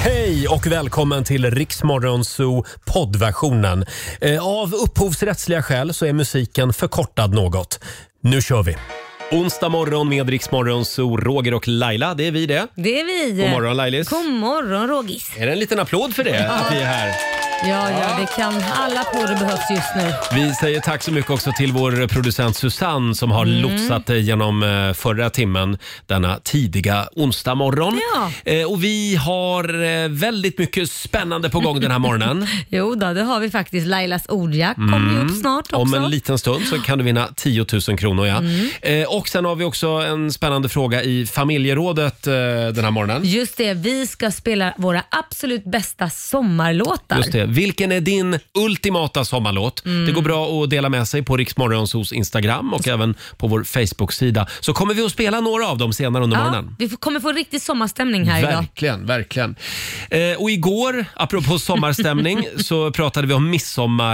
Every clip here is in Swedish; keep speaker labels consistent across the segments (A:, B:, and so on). A: Hej och välkommen till Riksmorgonzoo poddversionen. Eh, Av upphovsrättsliga skäl så är musiken förkortad något. Nu kör vi! Onsdag morgon med Riksmorgonzoo, Roger och Laila, det är vi det.
B: Det är vi.
A: God morgon Lailis!
B: God morgon Rogis.
A: Är det en liten applåd för det? Att vi är här?
B: Ja, ja, det kan. Alla applåder behövs just nu.
A: Vi säger tack så mycket också till vår producent Susanne som har
B: Mm.
A: lotsat dig genom eh, förra timmen denna tidiga onsdag morgon.
B: Ja.
A: Eh, Och vi har eh, väldigt mycket spännande på gång den här morgonen.
B: Jo då, det har vi faktiskt. Lailas ordjakt kommer ju upp snart också.
A: Mm.
B: Mm.
A: Om en liten stund så kan du vinna 10 000 kronor. Ja. Eh, och sen har vi också en spännande fråga i familjerådet eh, den här morgonen.
B: Just det, vi ska spela våra absolut bästa sommarlåtar.
A: Just det. Vilken är din ultimata sommarlåt?
B: Mm.
A: Det går bra att dela med sig på Riksmorgonsos Instagram och även på vår Facebook-sida. Så kommer vi att spela några av dem senare under
B: Ja,
A: morgonen.
B: vi får- kommer få riktig sommarstämning här idag.
A: Verkligen, verkligen. Eh, och igår, apropå sommarstämning, så pratade vi om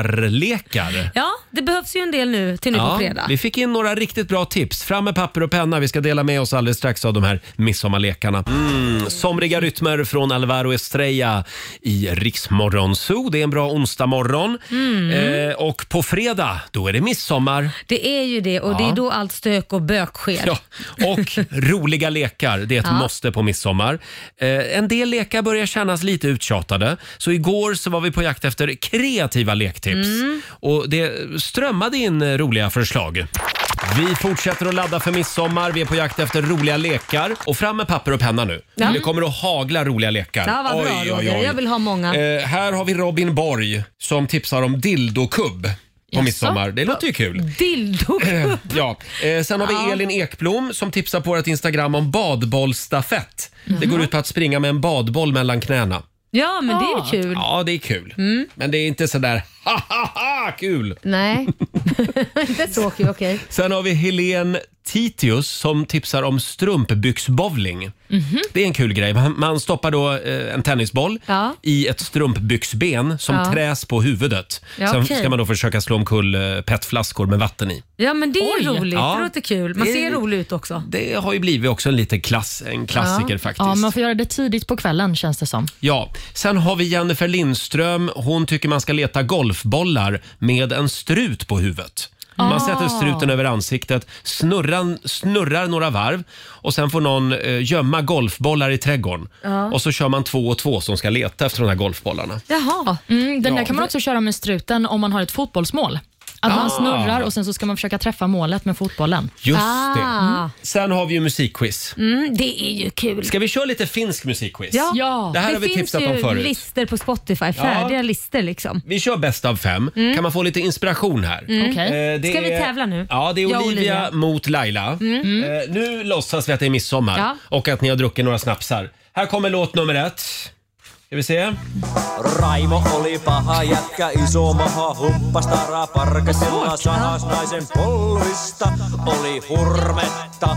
A: midsommarlekar.
B: Ja, det behövs ju en del nu till nu på fredag.
A: Vi fick in några riktigt bra tips. Fram med papper och penna. Vi ska dela med oss alldeles strax av de här midsommarlekarna. Mm, somriga rytmer från Alvaro Estrella i Riksmorgon Zoo. Det är en bra onsdagmorgon.
B: Mm.
A: Eh, och på fredag, då är det midsommar.
B: Det är ju det och det är då allt stök och bök sker.
A: Ja, och roliga lekar, det är ett måste på midsommar. Eh, en del lekar börjar kännas lite uttjatade. Så igår så var vi på jakt efter kreativa lektips.
B: Mm.
A: Och det strömmade in eh, roliga förslag. Vi fortsätter att ladda för midsommar. Vi är på jakt efter roliga lekar. Och fram med papper och penna nu.
B: Ja.
A: Det kommer att hagla roliga lekar.
B: Ja, vad bra Roger. Jag vill ha många.
A: Eh, här har vi Robin Borg som tipsar om dildokubb på
B: Jaså?
A: midsommar. Det låter ju kul.
B: Dildo.
A: Ja. Eh, sen har vi Elin Ekblom som tipsar på vårt Instagram om badbollsstafett. Det går ut på att springa med en badboll mellan knäna.
B: Ja, men det är ju kul.
A: Ja, det är kul. Men det är inte sådär ha ha ha kul.
B: Nej, inte så kul. Okej.
A: Sen har vi Helen Titius som tipsar om strumpbyxbowling. Det är en kul grej. Man- Man stoppar då eh, en tennisboll
B: Ja.
A: i ett strumpbyxben som
B: Ja.
A: träs på huvudet.
B: Ja,
A: Sen
B: okej.
A: ska man då försöka slå omkull eh, petflaskor med vatten i.
B: Ja, men det är roligt.
A: Ja.
B: Det låter kul. Man
A: Det är-
B: ser rolig ut också.
A: Det har ju blivit också en liten klass, en klassiker faktiskt.
C: Ja, man får göra det tidigt på kvällen känns det som.
A: Ja, sen har vi Jennifer Lindström. Hon tycker man ska leta golfbollar med en strut på huvudet. Man
B: Ah.
A: sätter struten över ansiktet, snurrar, snurrar några varv och sen får någon eh, gömma golfbollar i trädgården. Och så kör man två och två som ska leta efter de här golfbollarna.
B: Jaha.
C: Mm, den
A: Ja.
C: där kan man också köra med struten om man har ett fotbollsmål. Att
A: Ah.
C: man snurrar och sen så ska man försöka träffa målet med fotbollen.
A: Just det.
B: Ah.
A: Sen har vi ju musikquiz.
B: Mm, det är ju kul.
A: Ska vi köra lite finsk musikquiz?
B: Ja.
C: Ja.
A: Det här har vi
B: finns
A: tipsat
B: ju
A: om förut.
B: listor på Spotify, färdiga listor liksom.
A: Vi kör bäst av fem.
B: Mm.
A: Kan man få lite inspiration här?
C: Okej.
A: Eh, det
B: Ska vi
A: är-
B: tävla nu?
A: Ja, det är Olivia,
B: Jag och Olivia. Mm.
A: mot Laila. Eh, nu låtsas vi att det är midsommar
B: Ja.
A: och att ni har druckit några snapsar. Här kommer låt nummer ett. Ska vi se?
D: Raimo oli paha jätkä, iso maha, humppas taraa parkasella, sahas naisen polvista. Oli hurmetta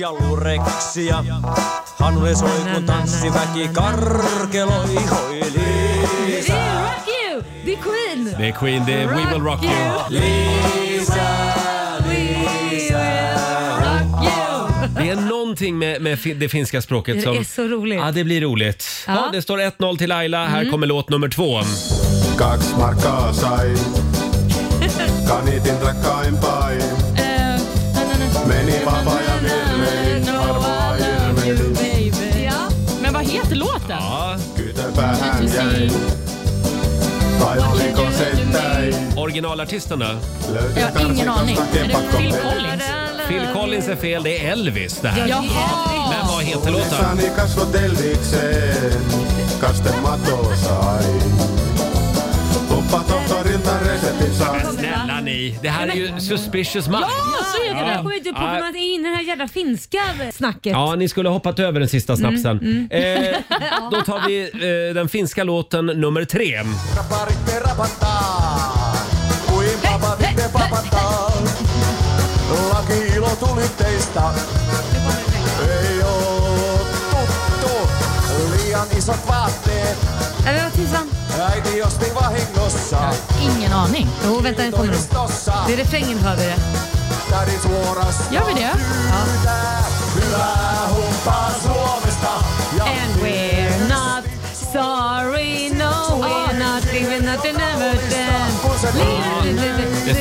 D: ja lureksia, hanve soi kun tanssiväki karkeloi hoili.
B: Det är Rock You! Det är Queen!
A: Det är Queen, det är We Will Rock You.
B: Rock You!
A: Det är någonting med, med fi- det finska språket
B: Det
A: som...
B: är så roligt.
A: Ja, det blir roligt. Ja.
B: Ja. Mm.
A: det står 1-0 till Laila. Här kommer låt nummer två.
E: Kaks markkaa sain. Kanitin rakkain päin. Meni vapaa ja virvein. Arvoa ilmein.
B: Ja.
C: Men vad heter låten?
E: Kytäpäähän jäin. Tai oliko se täin?
A: Originalartisten då?
E: Löytyi
C: Jag har ingen aning. Är det Phil Collins?
A: Phil Collins är fel. Det är Elvis det här.
C: Jaha!
A: Men vad heter låten?
E: Sani kasvot elvikseen, kaste mato sain. Tuppa tohtorilta reseptin sain.
A: Snälla ni, det här är ju Suspicious Minds.
C: Ja, så heter
B: Jag
C: den.
B: kommer inte på hur man är inne i det här jävla finska snacket.
A: Ja, ni skulle ha hoppat över den sista
B: Mm,
A: snapsen. Eh, då tar vi eh, den finska låten nummer tre.
D: Raparitte rapataa, kuin paparitte papataa. Laki ilo tuli teistä, ei oo tuttu. Liian isot vaatteet,
B: Eller vad tusan?
D: äiti osti vahingossa.
C: Ingen aning.
B: Jo, vänta jag kommer nog.
D: Toivostossa,
B: Det är refrängen hör vi det.
D: täri suorassa.
C: Gör vi det?
D: Hyvää, hyvää humppaa Suomesta ja
B: And we're not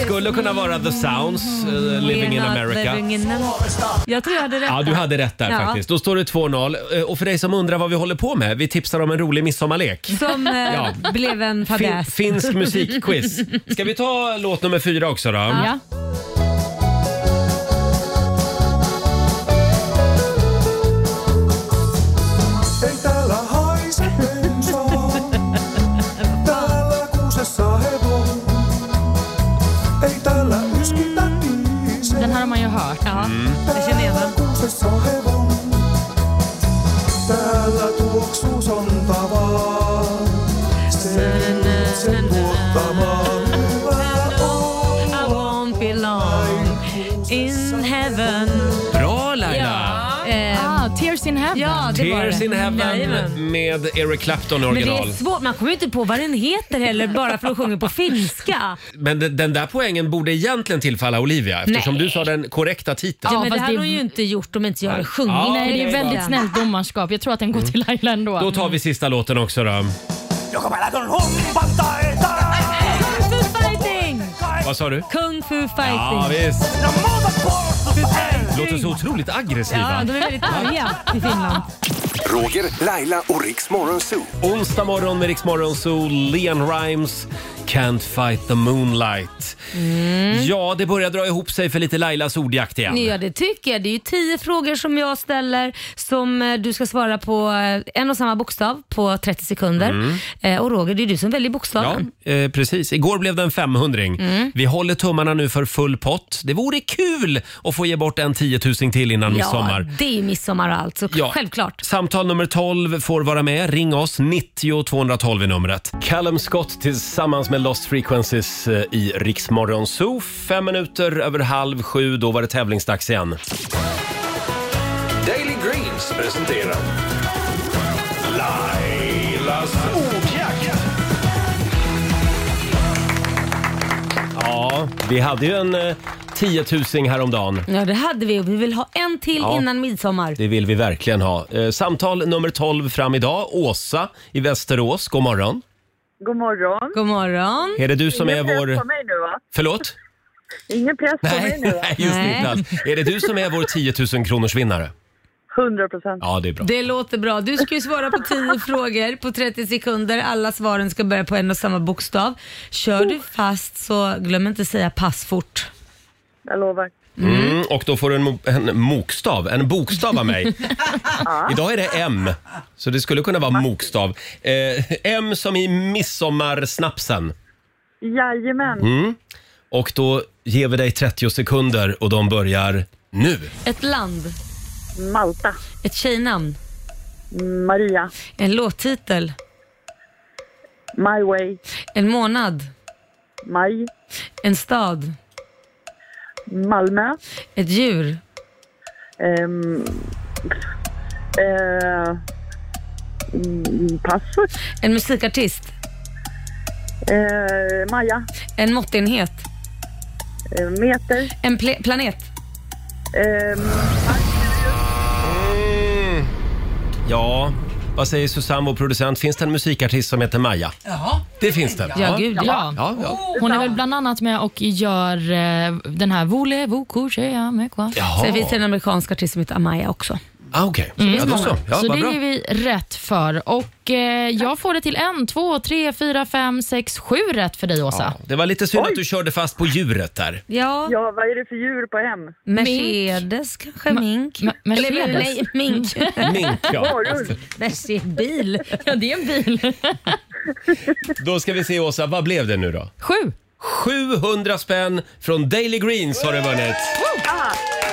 A: skulle kunna vara The Sounds, eh, Living in America.
B: Mm, Living in America. Jag tror jag hade rätt
A: Ja, du
B: där.
A: hade rätt där
B: Ja.
A: faktiskt. Då står det 2-0. Eh, Och för dig som undrar vad vi håller på med, vi tipsar om en rolig midsommarlek.
B: Som eh,
A: Ja.
B: blev en
A: Fin-
B: fadäs.
A: finsk musikquiz. Ska vi ta låt nummer fyra också då?
C: Ja.
D: Ei täällä haise bensaa. Täällä kuusessa hevo. Ei täällä yskitä tiise.
C: Den här har man ju hört. Mm.
B: Jag känner igen
D: Täällä
B: den.
D: kuusessa hevo. Täällä tuoksuu sontavaa. Sen sen tuottamaa. Hyvää on.
B: I won't be long in heaven.
A: Bra Laila!
B: Eh,
C: Ah, Tears in heaven.
B: ja, det var
A: Tears
B: det.
A: in heaven
B: Jajamän.
A: med Eric Clapton i
B: Men det
A: original.
B: är svårt, man kommer ju inte på vad den heter heller bara för att sjunga på finska.
A: Men de- den där poängen borde egentligen tillfalla Olivia eftersom
B: Nej.
A: du sa den korrekta titeln.
B: Ja,
C: Ja,
B: men det
C: fast
B: hade
C: det-
B: hon ju inte gjort om inte jag hade sjungit.
A: Ja, Mm.
B: Nej,
C: Det är väldigt snällt domarskap. Jag tror att den går till Laila ändå.
A: Då tar vi sista låten också då.
D: Joka päivä kun humpaltaita.
B: Kung Fu Fighting!
A: Vad sa du?
B: Kung Fu
A: Ja,
B: Fighting.
A: visst.
D: No muuta puolustus ei.
A: Låter så otroligt aggressiva.
B: Ja, de är väldigt arga i Finland.
F: Roger, Laila och Riks Morgonzoo.
A: Onsdag morgon med Riksmorgon så Leon Rimes Can't fight the moonlight. Ja, det börjar dra ihop sig för lite Lailas ordjakt igen.
B: Mm. Ja, det tycker jag. Det är ju tio frågor som jag ställer som eh, du ska svara på eh, en och samma bokstav på 30 sekunder.
A: Mm.
B: Eh, Och Roger, det är du som väljer
A: Ja,
B: bokstaven.
A: eh, precis. Igår blev det en 500
B: Mm.
A: Vi håller tummarna nu för full pott. Det vore kul att få ge bort en 10 000 till innan midsommar.
B: det är ju midsommar och allt, så
A: Ja.
B: självklart.
A: Samtal nummer 12 får vara med. Ring oss, 90 212 är numret. Callum Scott tillsammans med Lost Frequencies eh, i Riksmorgon Zoo. Fem minuter över halv sju, då var det tävlingsdags igen.
F: Daily Greens presenterar Lailas ordjakt.
A: Ja, vi hade ju en eh, 10 000 häromdagen.
B: Ja, det hade vi. Vi vill ha en till
A: Ja.
B: innan midsommar.
A: Det vill vi verkligen ha. Eh, Samtal nummer 12 fram idag. Åsa i Västerås, god morgon.
G: God morgon.
B: God morgon.
A: Är det du som är
G: Ingen press
A: vår...
G: på mig nu va?
A: Förlåt?
G: Ingen press på mig
A: Nej,
G: nu va?
A: nej, just
B: Nej.
A: Niklas. Är det du som är vår 10 000 kronors vinnare?
G: 100 procent.
A: Ja, det är bra.
B: Det låter bra. Du ska ju svara på 10 frågor på 30 sekunder. Alla svaren ska börja på en och samma bokstav. Kör
C: Oh.
B: du fast så glöm inte säga pass fort.
G: Jag lovar.
A: Mm, och då får du en, mo- en mokstav, en bokstav av mig. Idag är det M, så det skulle kunna vara mokstav. Eh, M som i midsommarsnapsen.
G: Jajamän.
A: Och då ger vi dig 30 sekunder och de börjar nu.
B: Ett land,
G: Malta.
B: ett tjejnamn,
G: Maria.
B: en låttitel,
G: My way.
B: en månad,
G: Maj.
B: en stad,
G: Malmö.
B: ett djur,
G: Ehm, eh, mm, pass.
B: en musikartist,
G: Eh, Maja.
B: en måttenhet,
G: Eh, meter.
B: en ple- planet.
G: Ehm,
A: Ja, vad säger Susanne, vår producent? Finns det en musikartist som heter Maja? Ja. Det finns det?
B: Ja, gud Oh. ja.
C: Ja.
A: Ja, ja.
C: Hon är väl bland annat med och gör eh, den här Voulez-vous coucher avec moi.
A: Jaha.
B: Sen finns det en Mm. amerikansk artist som heter Amaya också.
A: Ah, Okej, ja, då så. Ja,
C: Mm. så
A: vad
C: det
A: bra.
C: är vi rätt för. Och eh, jag får det till en, två, tre, fyra, fem, sex, sju rätt för dig Åsa.
A: Ja, Det var lite synd att du körde fast på djuret där.
B: Ja,
G: ja, vad är det för djur på hem?
B: Mercedes kanske, mink.
C: Me- Mercedes?
B: Eller, nej, mink.
A: Mink, ja.
G: Varulv.
B: Mercedes, bil.
C: Ja, det är en bil.
A: Då ska vi se Åsa, vad blev det nu då?
C: Sju.
A: 700 spänn från Daily Greens har du vunnit.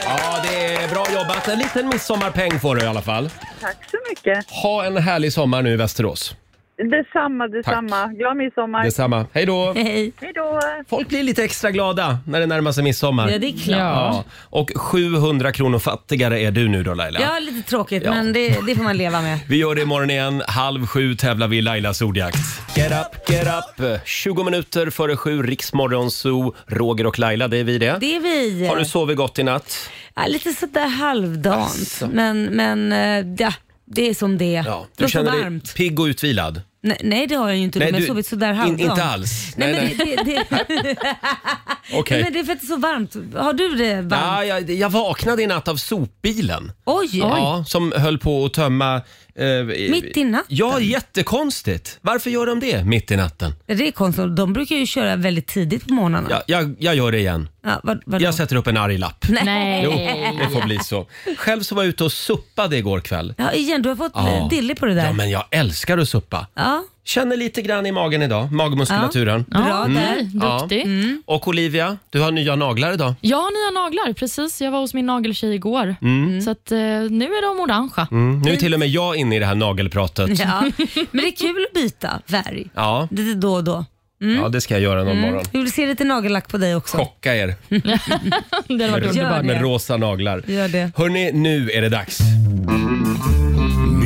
A: Ja, det är bra jobbat. En liten midsommarpeng får du i alla fall.
G: Tack så mycket.
A: Ha en härlig sommar nu i Västerås.
G: Detsamma, detsamma. Glad midsommar.
A: Detsamma. Hej då!
B: Hej.
G: Hej då.
A: Folk blir lite extra glada när det närmar sig midsommar.
B: Ja, det är klart.
A: Ja, och 700 kronor fattigare är du nu då Laila.
B: Ja, lite tråkigt,
A: Ja.
B: men det, det får man leva med.
A: Vi gör det imorgon igen. Halv sju tävlar vi i Lailas ordjakt. Get up, get up! 20 minuter före sju, Riksmorgon Zoo. Roger och Laila, det är vi det.
B: Det är vi.
A: Har du sovit gott i natt?
B: ja, lite sådär halvdant, men, men eh, ja, det är som det är.
A: Ja,
B: det
A: du
B: var så
A: känner dig
B: varmt.
A: pigg och utvilad?
B: Nej, nej det har jag ju inte.
A: Nej,
B: men jag
A: du-
B: har sovit sådär
A: in-
B: halvdant.
A: inte alls.
B: Nej,
A: Nej,
B: men Det, det, det,
A: Okej.
B: Nej, men det är för att det är så varmt. Har du det varmt?
A: Ja, jag, jag vaknade i natt av sopbilen.
B: Oj!
A: Ja, som höll på att tömma... eh,
B: Mitt i natten?
A: Ja, jättekonstigt. Varför gör de det mitt i natten?
B: Det är konstigt. De brukar ju köra väldigt tidigt på morgnarna.
A: Ja, jag, jag gör det igen.
B: Ja, vad, vadå?
A: Jag sätter upp en arg lapp.
C: Nej. Mm.
A: Jo, det får bli så. Själv så var jag ute och suppade igår kväll.
B: Ja, igen, du har fått
A: Ja.
B: ja. dille på det där.
A: Ja, men jag älskar att suppa.
B: Ja,
A: Känner lite grann i magen idag, magmuskulaturen.
C: Ja,
B: Bra
C: där.
B: där.
A: Mm.
C: Duktig.
B: Mm.
A: Och Olivia, du har nya naglar idag.
C: Jag har nya naglar, precis. Jag var hos min nageltjej igår. Så att, eh, nu är de orangea.
A: Mm. Nu är till och med jag inne i det här nagelpratet.
B: ja. Men det är kul att byta färg.
A: Ja,
B: Lite då och då.
A: ja det ska jag göra någon morgon.
B: Vi vill se lite nagellack på dig också.
A: Chocka er
C: Det hade varit
B: Gör
C: underbart.
A: med
B: det.
A: rosa naglar.
B: Gör det.
A: Hörni, nu är det dags.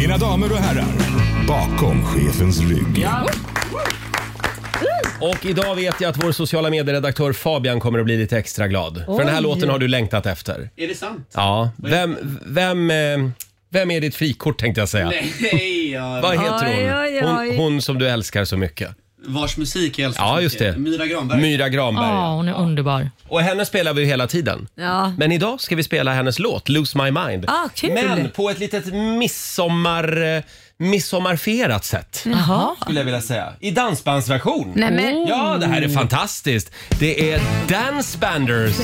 H: Mina damer och herrar, bakom chefens rygg.
A: Och idag vet jag att vår sociala medieredaktör Fabian kommer att bli lite extra glad. För den här låten har du längtat efter.
I: Är det sant?
A: Ja, vem, vem, eh, vem är ditt frikort tänkte jag säga.
I: Nej, ja.
A: Vad heter
B: Oj, oj,
A: hon?
B: oj.
A: hon? Hon som du älskar så mycket.
I: Vars musik jag älskar
A: Ja,
I: så
A: just
I: mycket.
A: det.
I: Myra Granberg.
A: Myra Granberg.
C: Ja,
A: ja.
C: hon är underbar.
A: Och henne spelar vi ju hela tiden.
B: Ja.
A: Men idag ska vi spela hennes låt Lose My Mind.
B: Ah, kul.
A: Men på ett litet midsommar, eh, midsommarferat sätt.
B: Jaha.
A: Skulle jag vilja säga. I dansbandsversion.
B: Nej,
C: Oh.
B: men,
A: Ja, det här är fantastiskt. Det är Dance Banders.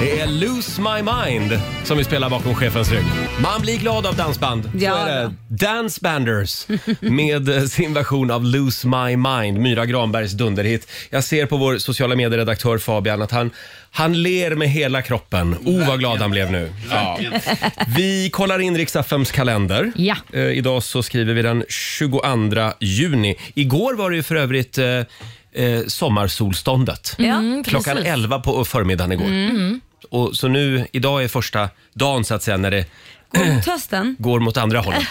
A: Det är Lose My Mind som vi spelar bakom chefens rygg. Man blir glad av dansband. Så
B: Ja,
A: är det. Dance Banders med eh, sin version av Lose My Mind, Myra Granbergs dunderhit. Jag ser på vår sociala medieredaktör Fabian att han, han ler med hela kroppen. Oh, vad glad han blev nu. Ja. Vi kollar in Riks-FMs kalender.
C: Ja.
A: Eh, idag så skriver vi den 22 juni. Igår var det ju för övrigt eh, eh, sommarsolståndet.
C: Mm,
A: Klockan
C: precis. Mm.
A: 11 på förmiddagen igår. Och, så nu, idag är första dagen så att säga när det
B: Tösten?
A: går mot andra hållet.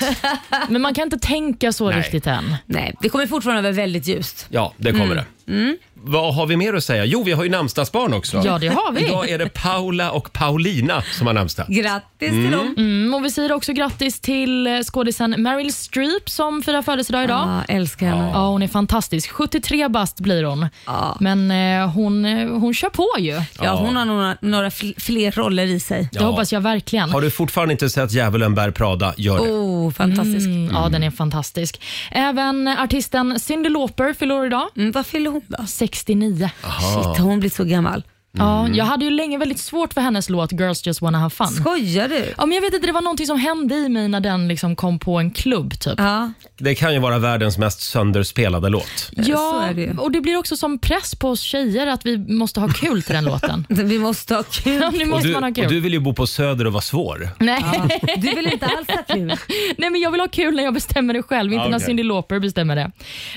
C: Men man kan inte tänka så
A: Nej.
C: riktigt än.
B: Nej, det kommer fortfarande vara väldigt ljust.
A: Ja, det kommer
C: Mm.
A: det. Vad har vi mer att säga? Jo, vi har ju namnsdagsbarn också.
C: Ja, det har vi.
A: Idag är det Paula och Paulina som har namnsdag.
B: Grattis till dem.
C: Mm, och vi säger också grattis till eh, skådisen Meryl Streep som firar födelsedag idag.
B: Ja, älskar henne.
C: Ja, hon är fantastisk. 73 bast blir hon. Men eh, hon, eh, hon kör på ju. Det
B: Ja, hon har några, några fl- fler roller i sig.
C: hoppas jag verkligen.
A: Har du fortfarande inte sett Djävulen bär Prada, gör det.
B: Oh, fantastisk. Mm.
C: Mm, ja, den är fantastisk. Även artisten Cyndi Lauper fyller år idag.
B: Mm, vad fyller hon då?
C: 69.
A: Ah.
B: Shit, har hon blivit så gammal?
C: Ja,
A: Mm.
C: jag hade ju länge väldigt svårt för hennes låt Girls just wanna have fun.
B: Skojar du?
C: Ja, men jag vet inte, det var någonting som hände i mig när den liksom kom på en klubb. Typ.
B: Ja,
A: Det kan ju vara världens mest sönderspelade låt.
B: så
C: Ja,
B: är det ju.
C: och det blir också som press på oss tjejer att vi måste ha kul till den låten.
B: vi måste ha kul.
C: Ja, nu
A: Och
C: måste
A: du,
C: man ha kul.
A: och du vill ju bo på Söder och vara svår.
C: Nej.
B: Du vill inte alls ha kul.
C: Nej, men jag vill ha kul när jag bestämmer det själv, inte
A: Ja,
C: när
A: Ah, okej.
C: Cyndi Lauper bestämmer det.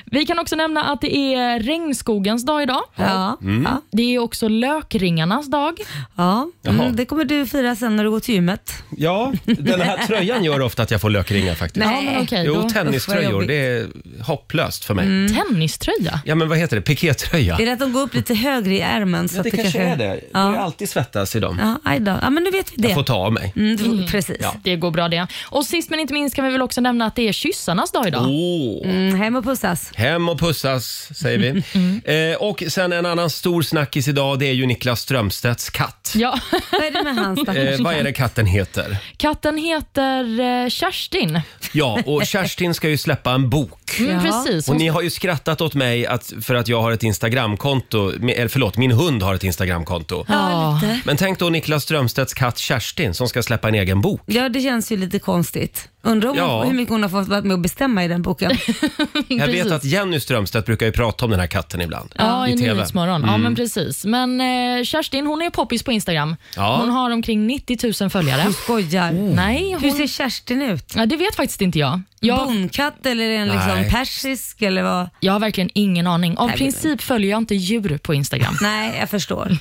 C: Vi kan också nämna att det är regnskogens dag idag.
B: Ja, Mm. ja,
C: Det är också lökringarnas dag.
B: ja.
A: Jaha.
B: Mm, det kommer du fira sen när du går till gymmet.
A: Ja, den här tröjan gör ofta att jag får lökringar faktiskt.
C: Ja, men okej.
A: Jo,
C: då.
B: Usch, vad
A: tenniströjor,
B: jobbigt.
A: det är hopplöst för mig.
C: Mm. Tenniströja?
A: Ja, men vad heter det? Pikétröja?
B: Är det att de går upp lite högre i ärmen? Så att
A: Jag
B: Ja.
A: börjar alltid svettas i dem.
B: Ja, aj då. ja, men nu vet vi det.
A: Jag får ta av mig.
B: Mm, du- Precis.
C: Det går bra det. Och sist men inte minst kan vi väl också nämna att det är kyssarnas dag idag.
A: Oh. Åh.
B: Mm, hem och pussas.
A: Hem och pussas, säger vi.
B: Mm.
A: Eh, och sen en annan stor snackis idag, det är ju Niklas Strömstedts katt.
C: Ja.
B: Vad är det med hans
A: Eh, vad är det katten heter?
C: Katten heter eh, Kerstin.
A: Ja, och Kerstin ska ju släppa en bok.
C: Mm,
B: Ja.
C: precis.
A: Och
C: Hon,
A: ni har ju skrattat åt mig att, för att jag har ett Instagramkonto, mi- eller förlåt, min hund har ett Instagramkonto.
C: ja.
A: Men tänk då Niklas Strömstedts katt Kerstin som ska släppa en egen bok.
B: Ja, det känns ju lite konstigt. Undrar om
A: Ja.
B: hur mycket hon har fått vara med och bestämma i den boken.
A: Jag
C: Precis.
A: vet att Jenny Strömstedt brukar ju prata om den här katten ibland.
C: Ja, i,
A: i TV.
C: Nyhetsmorgon. Ja, men precis. Men eh, Kerstin hon är poppis på Instagram.
A: Ja.
C: Hon har omkring 90 000 följare.
B: Du skojar.
A: Oh.
C: Nej,
B: Hur
C: hon...
B: ser Kerstin ut?
C: ja, det vet faktiskt inte jag. jag.
B: Bonkatt eller är den liksom
A: Nej.
B: persisk eller vad?
C: Jag har verkligen ingen aning. Av
B: Nej,
C: princip följer jag inte djur på Instagram.
B: Nej, jag förstår.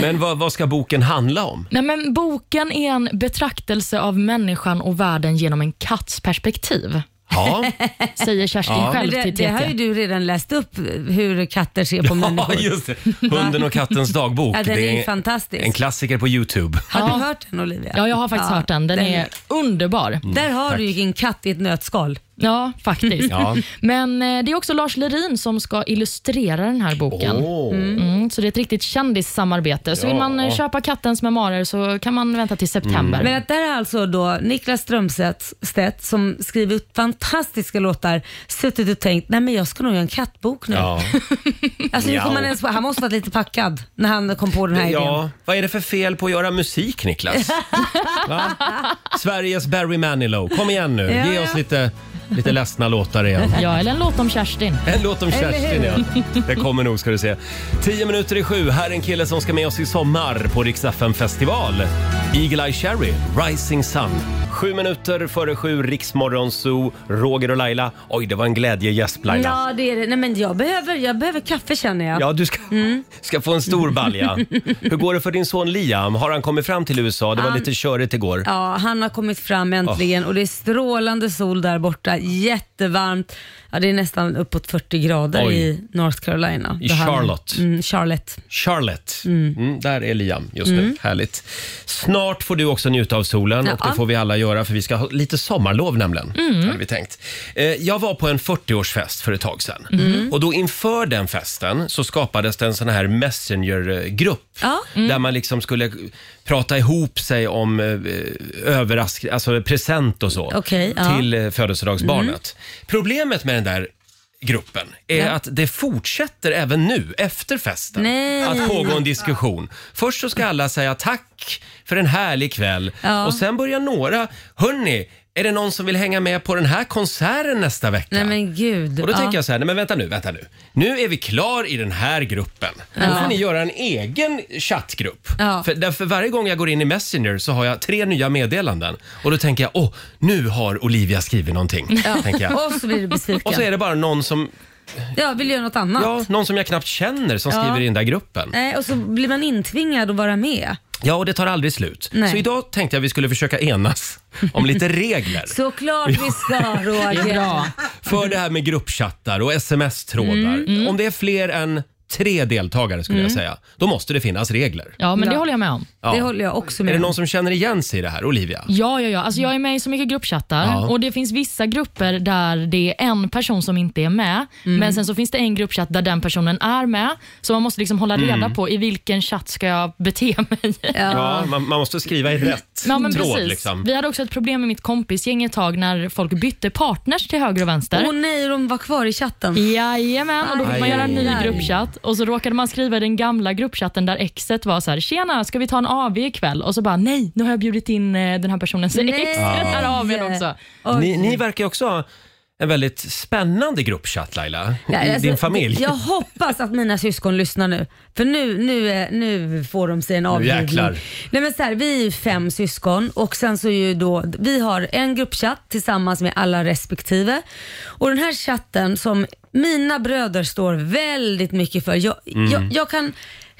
A: Men vad, vad ska boken handla om?
C: Nej, men boken är en betraktelse av människan och världen genom en katts perspektiv,
A: Ja,
C: säger Kerstin själv
B: Men det,
C: till
B: det har ju
C: TT.
B: du redan läst upp hur katter ser på
A: ja
B: människor.
A: just det. Hunden och kattens dagbok.
B: Ja, den är ju
A: en-
B: fantastisk.
A: En klassiker på Youtube.
B: Har
C: Ja.
B: du hört den Olivia?
A: Mm.
C: Ja, jag har faktiskt hört den. Den är underbar.
B: Där har du ju en katt i ett nötskal.
C: Ja, faktiskt.
A: Ja.
C: Men eh, det är också Lars Lerin som ska illustrera den här boken.
A: Åh.
C: Mm, så det är ett riktigt kändissamarbete. Så
A: Ja. Mm.
C: vill man eh, köpa Kattens memoarer så kan man vänta till september.
B: Men att det här är alltså då Niklas Strömstedt Stedt, som skrivit fantastiska låtar, suttit och tänkt, nej men jag ska nog göra en kattbok nu.
A: Ja.
B: Alltså, hur
A: Ja.
B: kom han, ens på, han måste varit lite packad när han kom på den här idén.
A: ja, vad är det för fel på att göra musik Niklas? Va? Sveriges Barry Manilow, kom igen nu,
B: Ja,
A: ge
B: ja.
A: oss lite, lite ledsna låtar igen.
C: Ja, eller en låt om Kerstin.
A: En Eh, låt om Kerstin, ja. Det kommer nog ska du se. Tio minuter i sju, här är en kille som ska med oss i sommar på Rix FM festival. Eagle Eye Cherry, Rising Sun. Sju minuter före sju, Riksmorgon Zoo, Roger och Laila. Oj, det var en glädjegäsp Laila.
B: Ja, det är det. Nej, men jag, behöver, jag behöver kaffe känner jag.
A: Ja, du ska,
B: Mm.
A: ska få en stor balja. Hur går det för din son Liam? Har han kommit fram till USA? Det var lite körigt igår.
B: Ja, han har kommit fram äntligen och det är strålande sol där borta. Jättevarmt. Ja, det är nästan uppåt 40 grader
A: Oj.
B: i North Carolina.
A: I
B: Då han-
A: Charlotte.
B: Mm, Charlotte.
A: Charlotte. Mm. där är Liam just nu. Härligt. Snart får du också njuta av solen och det
B: Mm. Ja. Mm.
A: får vi alla göra för vi ska ha lite sommarlov nämligen. Hade vi tänkt. Eh, jag var på en 40-årsfest för ett tag sedan
B: Mm.
A: och då inför den festen så skapades det en sån här messengergrupp
B: Ja.
A: där man liksom skulle prata ihop sig om eh, överrask alltså present och så
B: Okej, ja. Mm.
A: till eh, födelsedagsbarnet. Problemet med den där gruppen är att det fortsätter även nu efter festen
B: Nej.
A: att pågå en diskussion. Först så ska alla säga tack för en härlig kväll
B: Ja.
A: och sen börjar några, hörni, är det någon som vill hänga med på den här konserten nästa vecka?
B: Nej men gud.
A: Och då
B: ja.
A: tänker jag så här, nej men vänta nu, vänta nu. Nu är vi klar i den här gruppen. Då får ni göra en egen chattgrupp.
B: Ja.
A: För, därför varje gång jag går in i Messenger så har jag tre nya meddelanden. Och då tänker jag, åh, nu har Olivia skrivit någonting. Tänker jag.
B: Och så blir du besviken.
A: Och så är det bara någon som,
B: Ja, vill göra något annat.
A: ja, någon som jag knappt känner som
B: Ja. Eh.
A: skriver i den där gruppen.
B: Nej, och så blir man intvingad att vara med.
A: Ja, och det tar aldrig slut.
B: Nej.
A: Så idag tänkte jag vi skulle försöka enas om lite regler.
B: Såklart vi ska
C: Det är
B: Roger.
C: bra.
A: För det här med gruppchattar och sms-trådar.
B: Mm.
A: Om det är fler än tre deltagare skulle jag säga, då måste det finnas regler.
C: Ja, men det
B: Ja.
C: håller jag med om.
A: Ja.
B: Det håller jag också
A: Är
B: med
A: det
B: om.
A: någon som känner igen sig i det här, Olivia?
C: Ja, ja, ja. Alltså, jag är med i så mycket gruppchattar
A: Ja.
C: och det finns vissa grupper där det är en person som inte är med.
B: Mm.
C: Men sen så finns det en gruppchatt där den personen är med. Så man måste liksom hålla reda
A: Mm.
C: på i vilken chatt ska jag bete mig.
A: Ja, man, man måste skriva
B: Mm.
A: i rätt
C: Ja, men
A: tråd
C: precis.
A: liksom.
C: Vi hade också ett problem med mitt kompisgäng ett tag när folk bytte partners till höger och vänster.
B: Åh nej, de var kvar i chatten.
C: Jajamän, och då fick man
A: Aj.
C: göra en ny gruppchatt och så råkade man skriva i den gamla gruppchatten där exet var så här: “Tjena, ska vi ta en AV ikväll?” och så bara “Nej, nu har jag bjudit in eh, den här personen så
B: Nej.
C: exet är AWn också”.
B: Oj.
A: Ni, ni verkar ju också ha en väldigt spännande gruppchatt Laila,
B: Ja,
A: i
B: alltså,
A: din familj.
B: Jag hoppas att mina syskon lyssnar nu. För nu, nu, är- nu får de sig en avbjudning.
A: jäklar.
B: Nej, men så här, vi är ju fem syskon och sen så är ju då, vi har en gruppchatt tillsammans med alla respektive. Och den här chatten som mina bröder står väldigt mycket för. Jag, jag, jag kan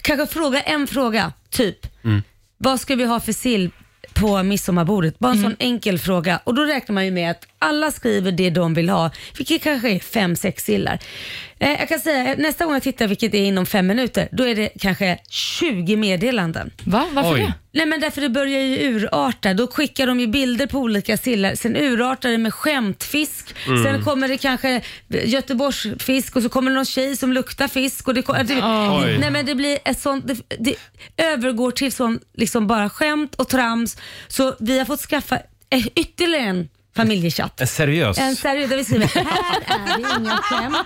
B: kanske fråga en fråga, typ. Vad ska vi ha för sill på midsommarbordet? Bara en sån enkel fråga. Och då räknar man ju med att alla skriver det de vill ha, vilket kanske är fem, sex sillar. Eh, jag kan säga eh, nästa gång jag tittar, vilket är inom fem minuter, då är det kanske 20 meddelanden.
C: Va? Varför
A: Oj.
C: det?
B: Nej men därför det börjar ju urarta. Då skickar de ju bilder på olika sillar. Sen urartar det med skämtfisk.
A: Mm.
B: Sen kommer det kanske Göteborgsfisk och så kommer det någon tjej som luktar fisk. Och det, ko- det,
A: Oj.
B: nej men det blir ett sånt, det, det övergår till sån liksom bara skämt och trams. Så vi har fått skaffa eh, ytterligare en familjechatt.
A: En seriös.
B: En seriös, där vi skriver här är det inga skämt.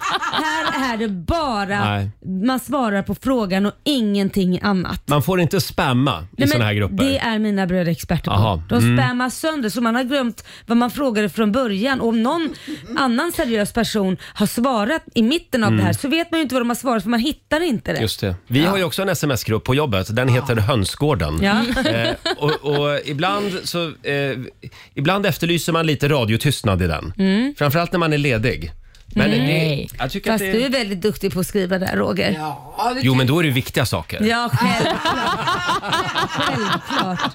B: Här är det bara
A: Nej.
B: man svarar på frågan och ingenting annat.
A: Man får inte spamma i
B: Nej, men
A: såna här grupper.
B: Det är mina bröder experter
A: Aha, Mm.
B: på. De spammar sönder så man har glömt vad man frågade från början. Och om någon annan seriös person har svarat i mitten av det här så vet man ju inte vad de har svarat för man hittar inte det.
A: Mm. Just det. Vi har ju också en sms-grupp på jobbet. Den heter Hönsgården.
B: Ja.
A: Eh, och, och ibland, så, eh, ibland efterlyser man lite radiotystnad i den. Framförallt när man är ledig. Men
C: Nej.
A: det, jag tycker
B: Mm. Fast
A: att
B: du
A: det,
B: är väldigt duktig på att skriva där Roger. Ja,
A: Jo, men då är det viktiga saker.
B: självklart. självklart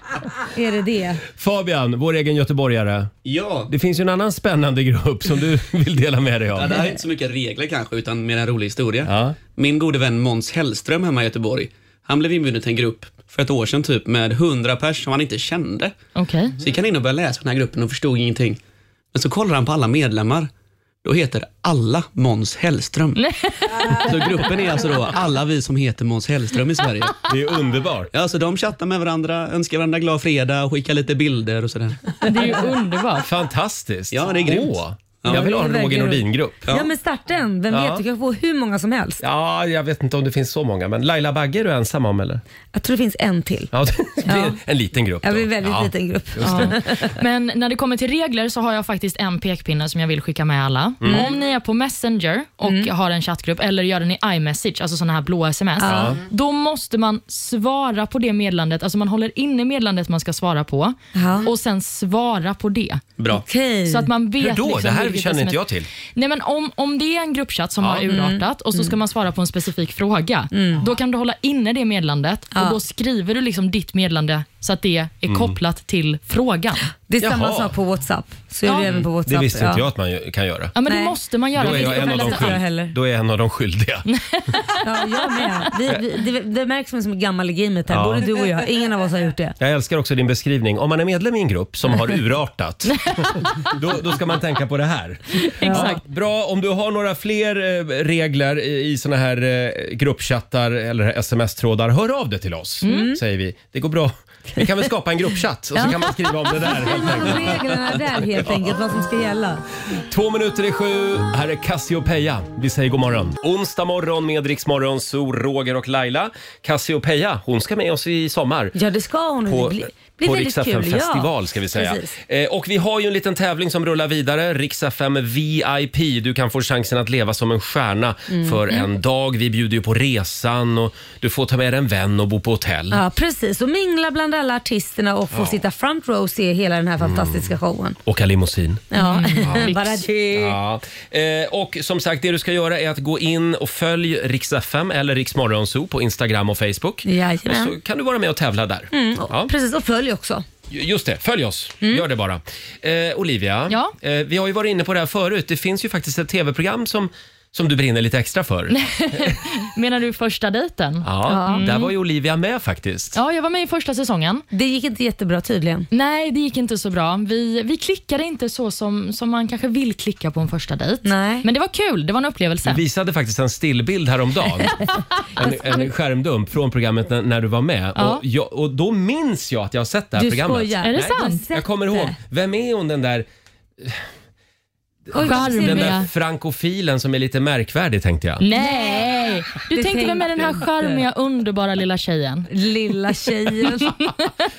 B: är det det.
A: Fabian, vår egen göteborgare.
I: Ja,
A: Det finns ju en annan spännande grupp som du vill dela med dig
I: Ja,
A: av.
I: det här är inte så mycket regler kanske, utan mer en rolig historia.
A: Ja.
I: Min gode vän Måns Hellström hemma i Göteborg, han blev inbjuden till en grupp för ett år sedan typ med 100 pers som han inte kände.
C: Okej.
I: Så gick han in och började läsa den här gruppen och förstod ingenting. Men så kollar han på alla medlemmar då heter alla Måns Hellström. Så gruppen är alltså då alla vi som heter Måns Hellström i Sverige.
A: Det är underbart.
I: Ja, så de chattar med varandra, önskar varandra glad fredag, skickar lite bilder och sådär.
C: Det är ju underbart.
A: Fantastiskt.
I: Ja, det är grymt.
A: Åh, jag vill ha en
B: Det är
A: Roger
B: grymt.
A: Nordin-grupp.
B: Ja, men starta en. Vem
A: Ja.
B: vet, du kan få hur många som helst.
A: Ja, jag vet inte om det finns så många, men Laila Bagge är du ensam om eller?
B: Jag tror det finns en till.
A: Ja, det blir
B: Ja.
A: en liten grupp.
B: Ja,
A: då.
B: vi är en väldigt
A: Ja.
B: liten grupp.
C: Men när det kommer till regler så har jag faktiskt en pekpinne som jag vill skicka med alla.
A: Mm.
C: Om ni är på Messenger och har en chattgrupp eller gör den i iMessage, alltså sådana här blå sms, då måste man svara på det meddelandet. Alltså man håller inne meddelandet man ska svara på
B: Ja.
C: och sen svara på det.
I: Bra.
B: Okej.
C: Så att man vet
A: Hur då?
C: Liksom
A: det här
C: vilket
A: känner inte
C: sms
A: jag till.
C: Nej, men om, om det är en gruppchatt som
B: Mm.
C: har urartat och så ska man svara på en specifik fråga, då kan du hålla inne det meddelandet och då skriver du liksom ditt meddelande så att det är
A: Mm.
C: kopplat till frågan.
B: Det är samma
A: Jaha.
B: sak på WhatsApp. Så är det
C: Ja.
B: även på WhatsApp.
A: Det visste
B: ja.
A: inte jag att man ju- kan göra.
C: Ja, men
B: Nej.
C: det måste man göra.
A: Då är, jag
C: vilket
A: en av de
C: läste-
B: jag
A: skyldiga.
B: heller.
A: Då är jag en av de skyldiga.
B: Ja, jag med. Vi, vi, det, det märks som en gammal gamet här,
A: Ja.
B: både du och jag. Ingen av oss har gjort det.
A: Jag älskar också din beskrivning. Om man är medlem i en grupp som har urartat, då, då ska man tänka på det här.
C: Exakt.
A: Bra, om du har några fler eh, regler i, i såna här eh, gruppchattar eller sms-trådar, hör av dig till oss, säger vi. Det går bra. Vi kan väl skapa en gruppchatt och så kan man skriva om det där. helt
B: Man
A: enkelt.
B: har reglerna där helt enkelt, vad som ska gälla.
A: Två minuter i sju, här är Cassiopeia. Vi säger god morgon. Onsdag morgon med Rix Morgon, så Roger och Laila. Cassiopeia, hon ska med oss i sommar.
B: Ja, det ska hon.
A: På,
B: det blir, blir
A: på
B: väldigt
A: Rix FM
B: kul.
A: festival
B: ja.
A: ska vi säga.
B: Precis.
A: Eh, och vi har ju en liten tävling som rullar vidare. Rix FM VIP. Du kan få chansen att leva som en stjärna
B: Mm.
A: för en dag. Vi bjuder ju på resan och du får ta med dig en vän och bo på hotell.
B: Ja, precis. Och mingla bland alla artisterna och få sitta front row och se hela den här
A: Mm.
B: fantastiska showen.
A: Åka limousin.
B: Ja, bara det.
A: Ja. Eh, och som sagt, det du ska göra är att gå in och följ Rix FM eller Rix Morgonzoo på Instagram och Facebook. Och
B: Jajamän. Mm.
A: så kan du vara med och tävla där. Alltså, Ja.
B: Precis, och följ också.
A: Ju- Just det, följ oss. Gör det bara. Eh, Olivia,
C: Mm. Ja?
A: eh, vi har ju varit inne på det här förut. Det finns ju faktiskt ett tv-program som, som du brinner lite extra för.
C: Menar du första dejten?
A: Ja, Där var ju Olivia med faktiskt.
C: Mm. Ja, jag var med i första säsongen.
B: Det gick inte jättebra tydligen.
C: Nej, det gick inte så bra. Vi, vi klickade inte så som, som man kanske vill klicka på en första dejt.
B: Nej.
C: Men det var kul. Det var en upplevelse.
A: Du visade faktiskt en stillbild häromdagen. en, en skärmdump från programmet när, när du var med.
C: Ja.
A: Och, jag, och då minns jag att jag har sett det här
B: Du
A: programmet.
B: skojar.
C: Är det
B: Nej, du har
C: sant?
B: sett
A: Jag kommer ihåg.
B: det.
A: Vem är hon den där,
B: Oj,
C: Charmig.
A: den
B: Silvia.
A: där
C: Ja.
A: frankofilen som är lite märkvärdig tänkte
C: Mm.
A: jag.
C: Nej! Du
B: Det
C: tänkte väl med den här
B: tänkte
C: charmiga, underbara lilla tjejen? Mm,
B: Lilla tjejen.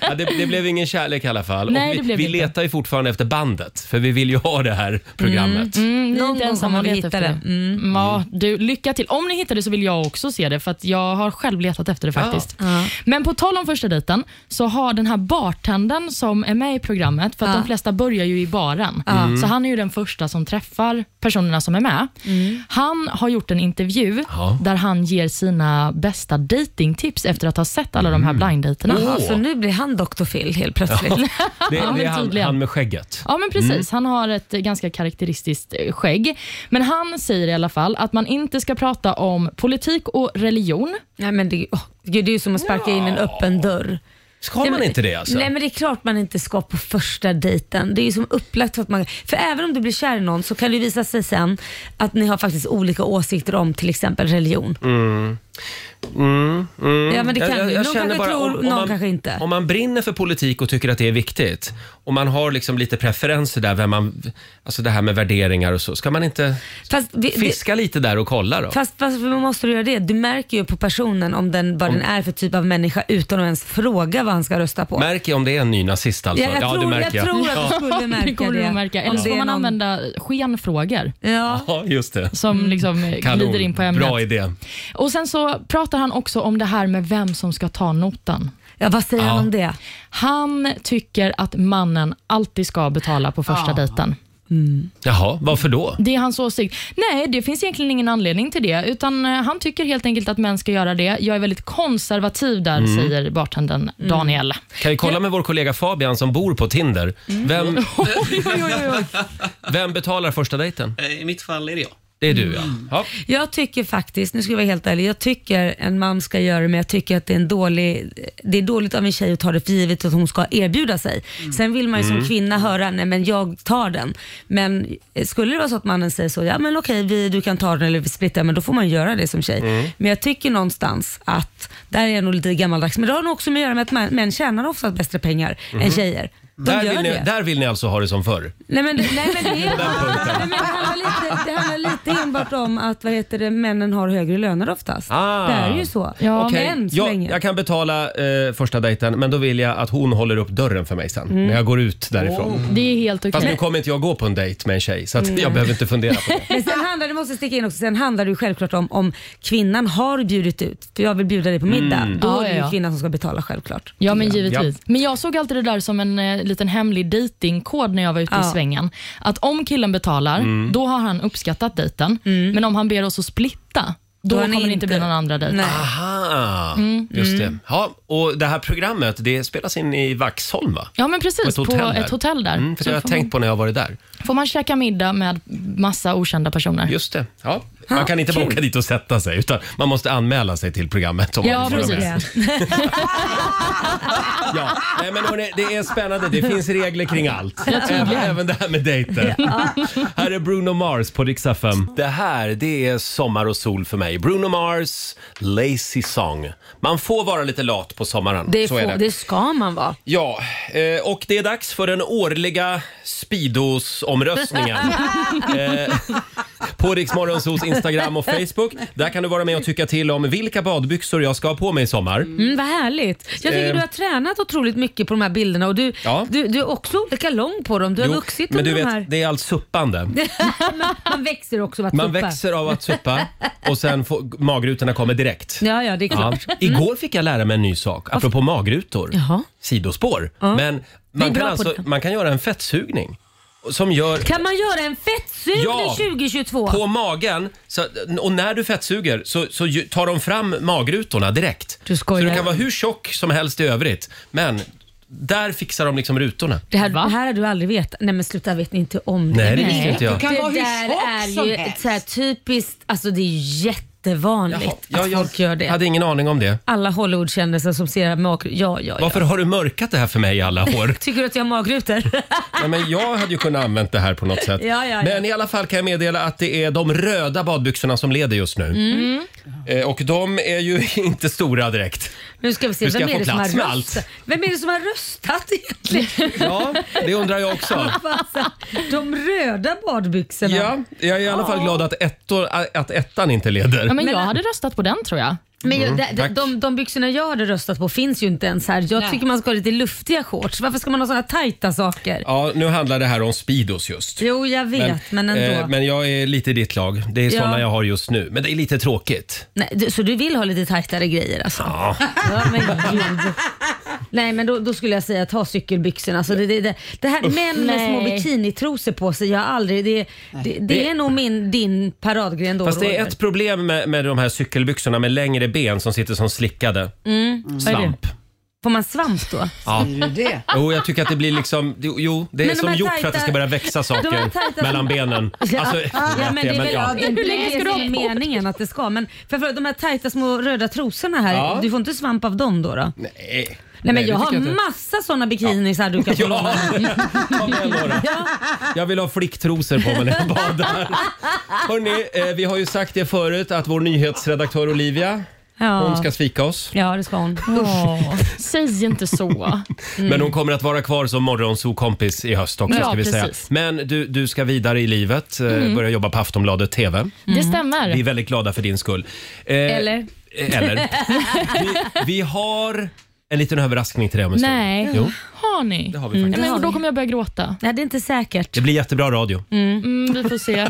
A: Ja, det, det blev ingen kärlek i alla fall.
C: Nej,
A: och vi
C: det blev
A: vi
C: inte.
A: letar ju fortfarande efter bandet för vi vill ju ha det här programmet.
C: Mm, ni är
B: Någon
C: inte
B: gång
C: ensamma
B: kommer
C: om
B: vi
C: att
B: hitta
C: leta efter
B: det.
C: det. Mm. Ja, du, lycka till. Om ni hittar det så vill jag också se det, för att jag har själv letat efter det faktiskt.
B: Ja.
C: Men på tal om första dejten, så har den här bartendern som är med i programmet, för att
B: Ja. Mm.
C: de flesta börjar ju i baren, så han är ju den första som träffar personerna som är med.
B: Mm.
C: Han har gjort en intervju
A: Ja.
C: där han ger sina bästa datingtips efter att ha sett alla de här blinddejterna.
A: Åh.
B: Så nu blir han Dr. Phil helt plötsligt.
A: Det,
C: Ja,
A: det är
C: men
A: han,
C: tydligen.
A: han med skägget.
C: Ja, men precis. Han har ett eh, ganska karaktäristiskt eh, skägg. Men han säger i alla fall att man inte ska prata om politik och religion.
B: Nej, men det, åh, gud, det är ju som att sparka in en öppen dörr.
A: Ska man inte det alltså?
B: Nej men det är klart man inte ska på första dejten. Det är ju som upplagt för att man... För även om du blir kär i någon så kan det ju visa sig sen att ni har faktiskt olika åsikter om till exempel religion.
A: Mm.
B: Ja men det kan ju. Någon kanske tror, någon kanske inte.
A: Om man brinner för politik och tycker att det är viktigt och man har liksom lite preferenser där, vem man, alltså det här med värderingar och så. Ska man inte
B: fast, vi, det,
A: fiska lite där och kolla då?
B: fast, fast varför måste du göra det? Du märker ju på personen om den, vad den är för typ av människa utan att ens fråga vad han ska rösta på.
A: Märker jag om det är en ny nazist alltså?
B: ja, jag, tror, jag. tror att du skulle märka
C: Det kommer du att märka. Eller
B: Om
C: så
B: det
C: får
B: är
C: man
B: någon-
C: använda skenfrågor
B: Ja.
A: Ja, just det.
C: som
B: Mm.
C: liksom eh,
A: Kanon.
C: glider in på ämnet.
A: Bra idé.
C: Och Sen så pratar han också om det här med vem som ska ta notan.
B: ja, vad säger han om det?
C: Han tycker att mannen alltid ska betala på första dejten.
A: Jaha, varför då?
C: Det är hans åsikt. Nej, det finns egentligen ingen anledning till det. Utan eh, Han tycker helt enkelt att män ska göra det. Jag är väldigt konservativ där,
A: Mm.
C: säger bartendern
B: Mm.
C: Daniel.
A: Kan vi kolla med vår kollega Fabian som bor på
B: Mm.
A: Tinder? Vem,
C: Oj, oj, oj, oj.
A: vem betalar första dejten?
I: Eh, I mitt fall är det jag.
A: Det är du ja. ja.
B: Jag tycker faktiskt, nu ska jag vara helt ärlig, jag tycker en man ska göra det men jag tycker att det är, en dålig, det är dåligt av en tjej att ta det för givet att hon ska erbjuda sig.
A: Mm.
B: Sen vill man ju som kvinna höra, nej men jag tar den. Men skulle det vara så att mannen säger så, ja men okej vi, du kan ta den eller vi splittar, men då får man göra det som tjej.
A: Mm.
B: Men jag tycker någonstans att, där är jag nog lite gammaldags, men det har nog också med att göra med att män, män tjänar oftast bättre pengar än tjejer. De
A: Mm. Där
B: gör
A: vill, ni,
B: det.
A: där vill ni alltså ha det som förr?
B: Nej men, nej, men det, är, nej, men det, handlar lite, det handlar lite enbart om att vad heter det, männen har högre löner oftast.
A: Ah.
B: Det är ju så.
C: Ja,
A: Okej,
B: Men så
A: jag,
B: länge.
A: jag kan betala eh, första dejten men då vill jag att hon håller upp dörren för mig sen när jag går ut därifrån.
C: Det är helt Mm. Oh. okej. Mm.
A: Fast nu kommer inte jag gå på en dejt med en tjej så att jag behöver inte fundera på det.
B: Men sen handlar det, måste jag sticka in också, sen handlar det ju självklart om om kvinnan har bjudit ut. För jag vill bjuda dig på middag.
A: Mm.
B: Då
C: Ja,
B: är det
C: ja,
B: ju
C: ja.
B: kvinnan som ska betala självklart.
C: Ja, men givetvis.
A: Ja.
C: Men jag såg alltid det där som en eh, liten hemlig datingkod när jag var ute i
B: Ja.
C: svängen. Att om killen betalar,
A: Mm.
C: då har han uppskattat dejten. Men om han ber oss att splitta,
B: Mm. Då
C: då,
B: har ni
C: kommer det inte
B: inte-
C: bli någon andra dejt.
B: Nej.
A: Ah, Aha, Mm. just
C: Mm.
A: det. Ja, och det här programmet det spelas in i Vaxholm va?
C: Ja, men
A: På
C: precis.
A: ett
C: På
A: hotell där.
C: ett hotell där.
A: Mm, för
C: Så
A: det har
C: får,
A: jag tänkt på när jag har varit där.
C: man, får man käka middag med massa okända personer.
A: Just det. Ja.
C: Ah,
A: Man kan inte bara
B: kul.
A: åka dit och sätta sig utan man måste anmäla sig till programmet. Om
C: Ja,
A: man vill vara
C: precis.
A: med. Ja. Nej, men hörni, det är spännande. Det finns regler kring allt. Även, även det här med dejter. Här är Bruno Mars på Rix FM. Det här det är sommar och sol för mig. Bruno Mars, Lazy Song. Man får vara lite lat på sommaren.
B: Det,
A: Så är
B: får,
A: det.
B: det. ska man vara.
A: Ja, eh, och det är dags för den årliga Speedos-omröstningen. eh, på Riksmorgonsos Instagram och Facebook. Där kan du vara med och tycka till om vilka badbyxor jag ska ha på mig i sommar.
B: Mm, vad härligt. Jag tycker
A: Eh.
B: du har tränat otroligt mycket på de här bilderna och du,
A: Ja.
B: du, du är också olika lång på dem. Du har
A: Jo,
B: vuxit
A: men
B: under
A: du
B: de
A: vet,
B: här.
A: det är allt suppande.
B: Man växer också av att
A: Man
B: tuppa.
A: växer av att suppa och sen får, magrutorna kommer direkt.
B: Ja, ja, det är
A: Ja.
B: klart.
A: Igår fick jag lära mig en ny sak, apropå magrutor.
B: Jaha.
A: Sidospår. Men man
B: bra
A: kan,
B: på
A: alltså,
B: det.
A: man kan göra en fettsugning som gör
B: Kan man göra en fettsugning
A: Ja.
B: 2022?
A: På magen, så, och när du fettsuger så, så ju- tar de fram magrutorna direkt.
B: Du skojar.
A: Så du kan vara hur tjock som helst i övrigt, men där fixar de liksom rutorna.
B: Det här, det här har du aldrig vetat. Nej men sluta, vet ni inte om det?
A: Nej, det visste inte jag.
J: kan
B: det
J: vara hur
B: där
J: tjock
B: är
J: som
B: ju
J: helst.
B: ett så här typiskt, alltså det är ju jättevanligt
A: Jaha, ja,
B: att folk gör det.
A: hade ingen aning om det.
B: Alla Hollywoodkändisar som ser mag... Ja, ja, ja.
A: Varför har du mörkat det här för mig i alla år?
B: Tycker du att jag har magrutor?
A: Nej, men jag hade ju kunnat använt det här på något sätt.
B: Ja, ja, ja.
A: Men i alla fall kan jag meddela att det är de röda badbyxorna som leder just nu.
B: Mm.
A: Eh, och de är ju inte stora direkt.
B: nu ska vi se,
A: Du ska
B: vem är,
A: få
B: det som har
A: plats med
B: röstat?
A: allt.
B: vem är det som har röstat egentligen?
A: Ja, det undrar jag också.
B: Alltså, De röda badbyxorna.
A: Ja, jag är i alla fall glad att, ettor, äh, att ettan inte leder.
C: Ja, men jag hade röstat på den tror jag.
B: Men jag, de,
A: Mm. tack.
B: de, de, de byxorna jag hade röstat på finns ju inte ens här. Jag tycker man ska ha lite luftiga shorts. Varför ska man ha såna tajta saker?
A: Ja, nu handlar det här om Speedos just.
B: Jo, jag vet, men, ändå.
A: eh, men jag är lite i ditt lag. Det är
B: Ja.
A: såna jag har just nu. Men det är lite tråkigt.
B: Nej, du, så du vill ha lite tajtare grejer alltså?
A: Ja.
B: Ja, men gud. Nej men då, då skulle jag säga ta cykelbyxorna. Alltså det, det, det, det här män med
C: Nej.
B: små bikinitrosor på sig, jag har aldrig, det, det, det är nog min, din paradgren då
A: Fast det är
B: Roger.
A: ett problem med, med de här cykelbyxorna med längre ben som sitter som slickade.
B: Mm,
A: Svamp.
B: Får man svamp då?
A: Ja.
J: Är det det?
A: Jo, jag tycker att det blir liksom... Jo, det är
B: Men de
A: som
B: här
A: gjort för
B: tajta-
A: att det ska börja växa
B: de här
A: saker
B: tajta-
A: mellan benen. Alltså,
B: ja, men det är väl ja. det,
C: Hur länge ska
B: är
C: du ha
B: väl
C: på dig?
B: meningen att det ska. Men för, för de här tajta små röda trosorna här,
A: Ja.
B: du får inte svamp av dem då? då? Nej,
A: Nej.
B: men
A: det
B: jag har
A: tycker inte.
B: massa sådana bikinis här du kan få
A: Ja,
B: låna.
A: ta med några. Jag vill ha flicktrosor på mig när jag badar. Hörrni, eh, vi har ju sagt det förut att vår nyhetsredaktör Olivia,
B: Ja.
A: hon ska svika oss.
B: ja det ska hon.
C: Säg inte så.
B: Mm.
A: Men hon kommer att vara kvar som morgonsokompis i höst också
C: Ja,
A: ska vi säga.
C: precis.
A: Men du, du ska vidare i livet, eh,
B: Mm.
A: börja jobba på Aftonbladet TV.
C: Det
A: Vi är
C: stämmer.
A: väldigt glada för din skull. Eh,
B: Eller?
A: eh, Eller. Vi, vi har en liten överraskning till dig om en stund.
C: Nej.
A: Jo,
C: Har ni?
A: det har vi faktiskt.
C: Nej,
B: Mm, har
C: men då
B: vi.
C: kommer jag börja gråta.
B: Nej det är inte säkert.
A: Det blir jättebra radio.
C: Mm, vi får se.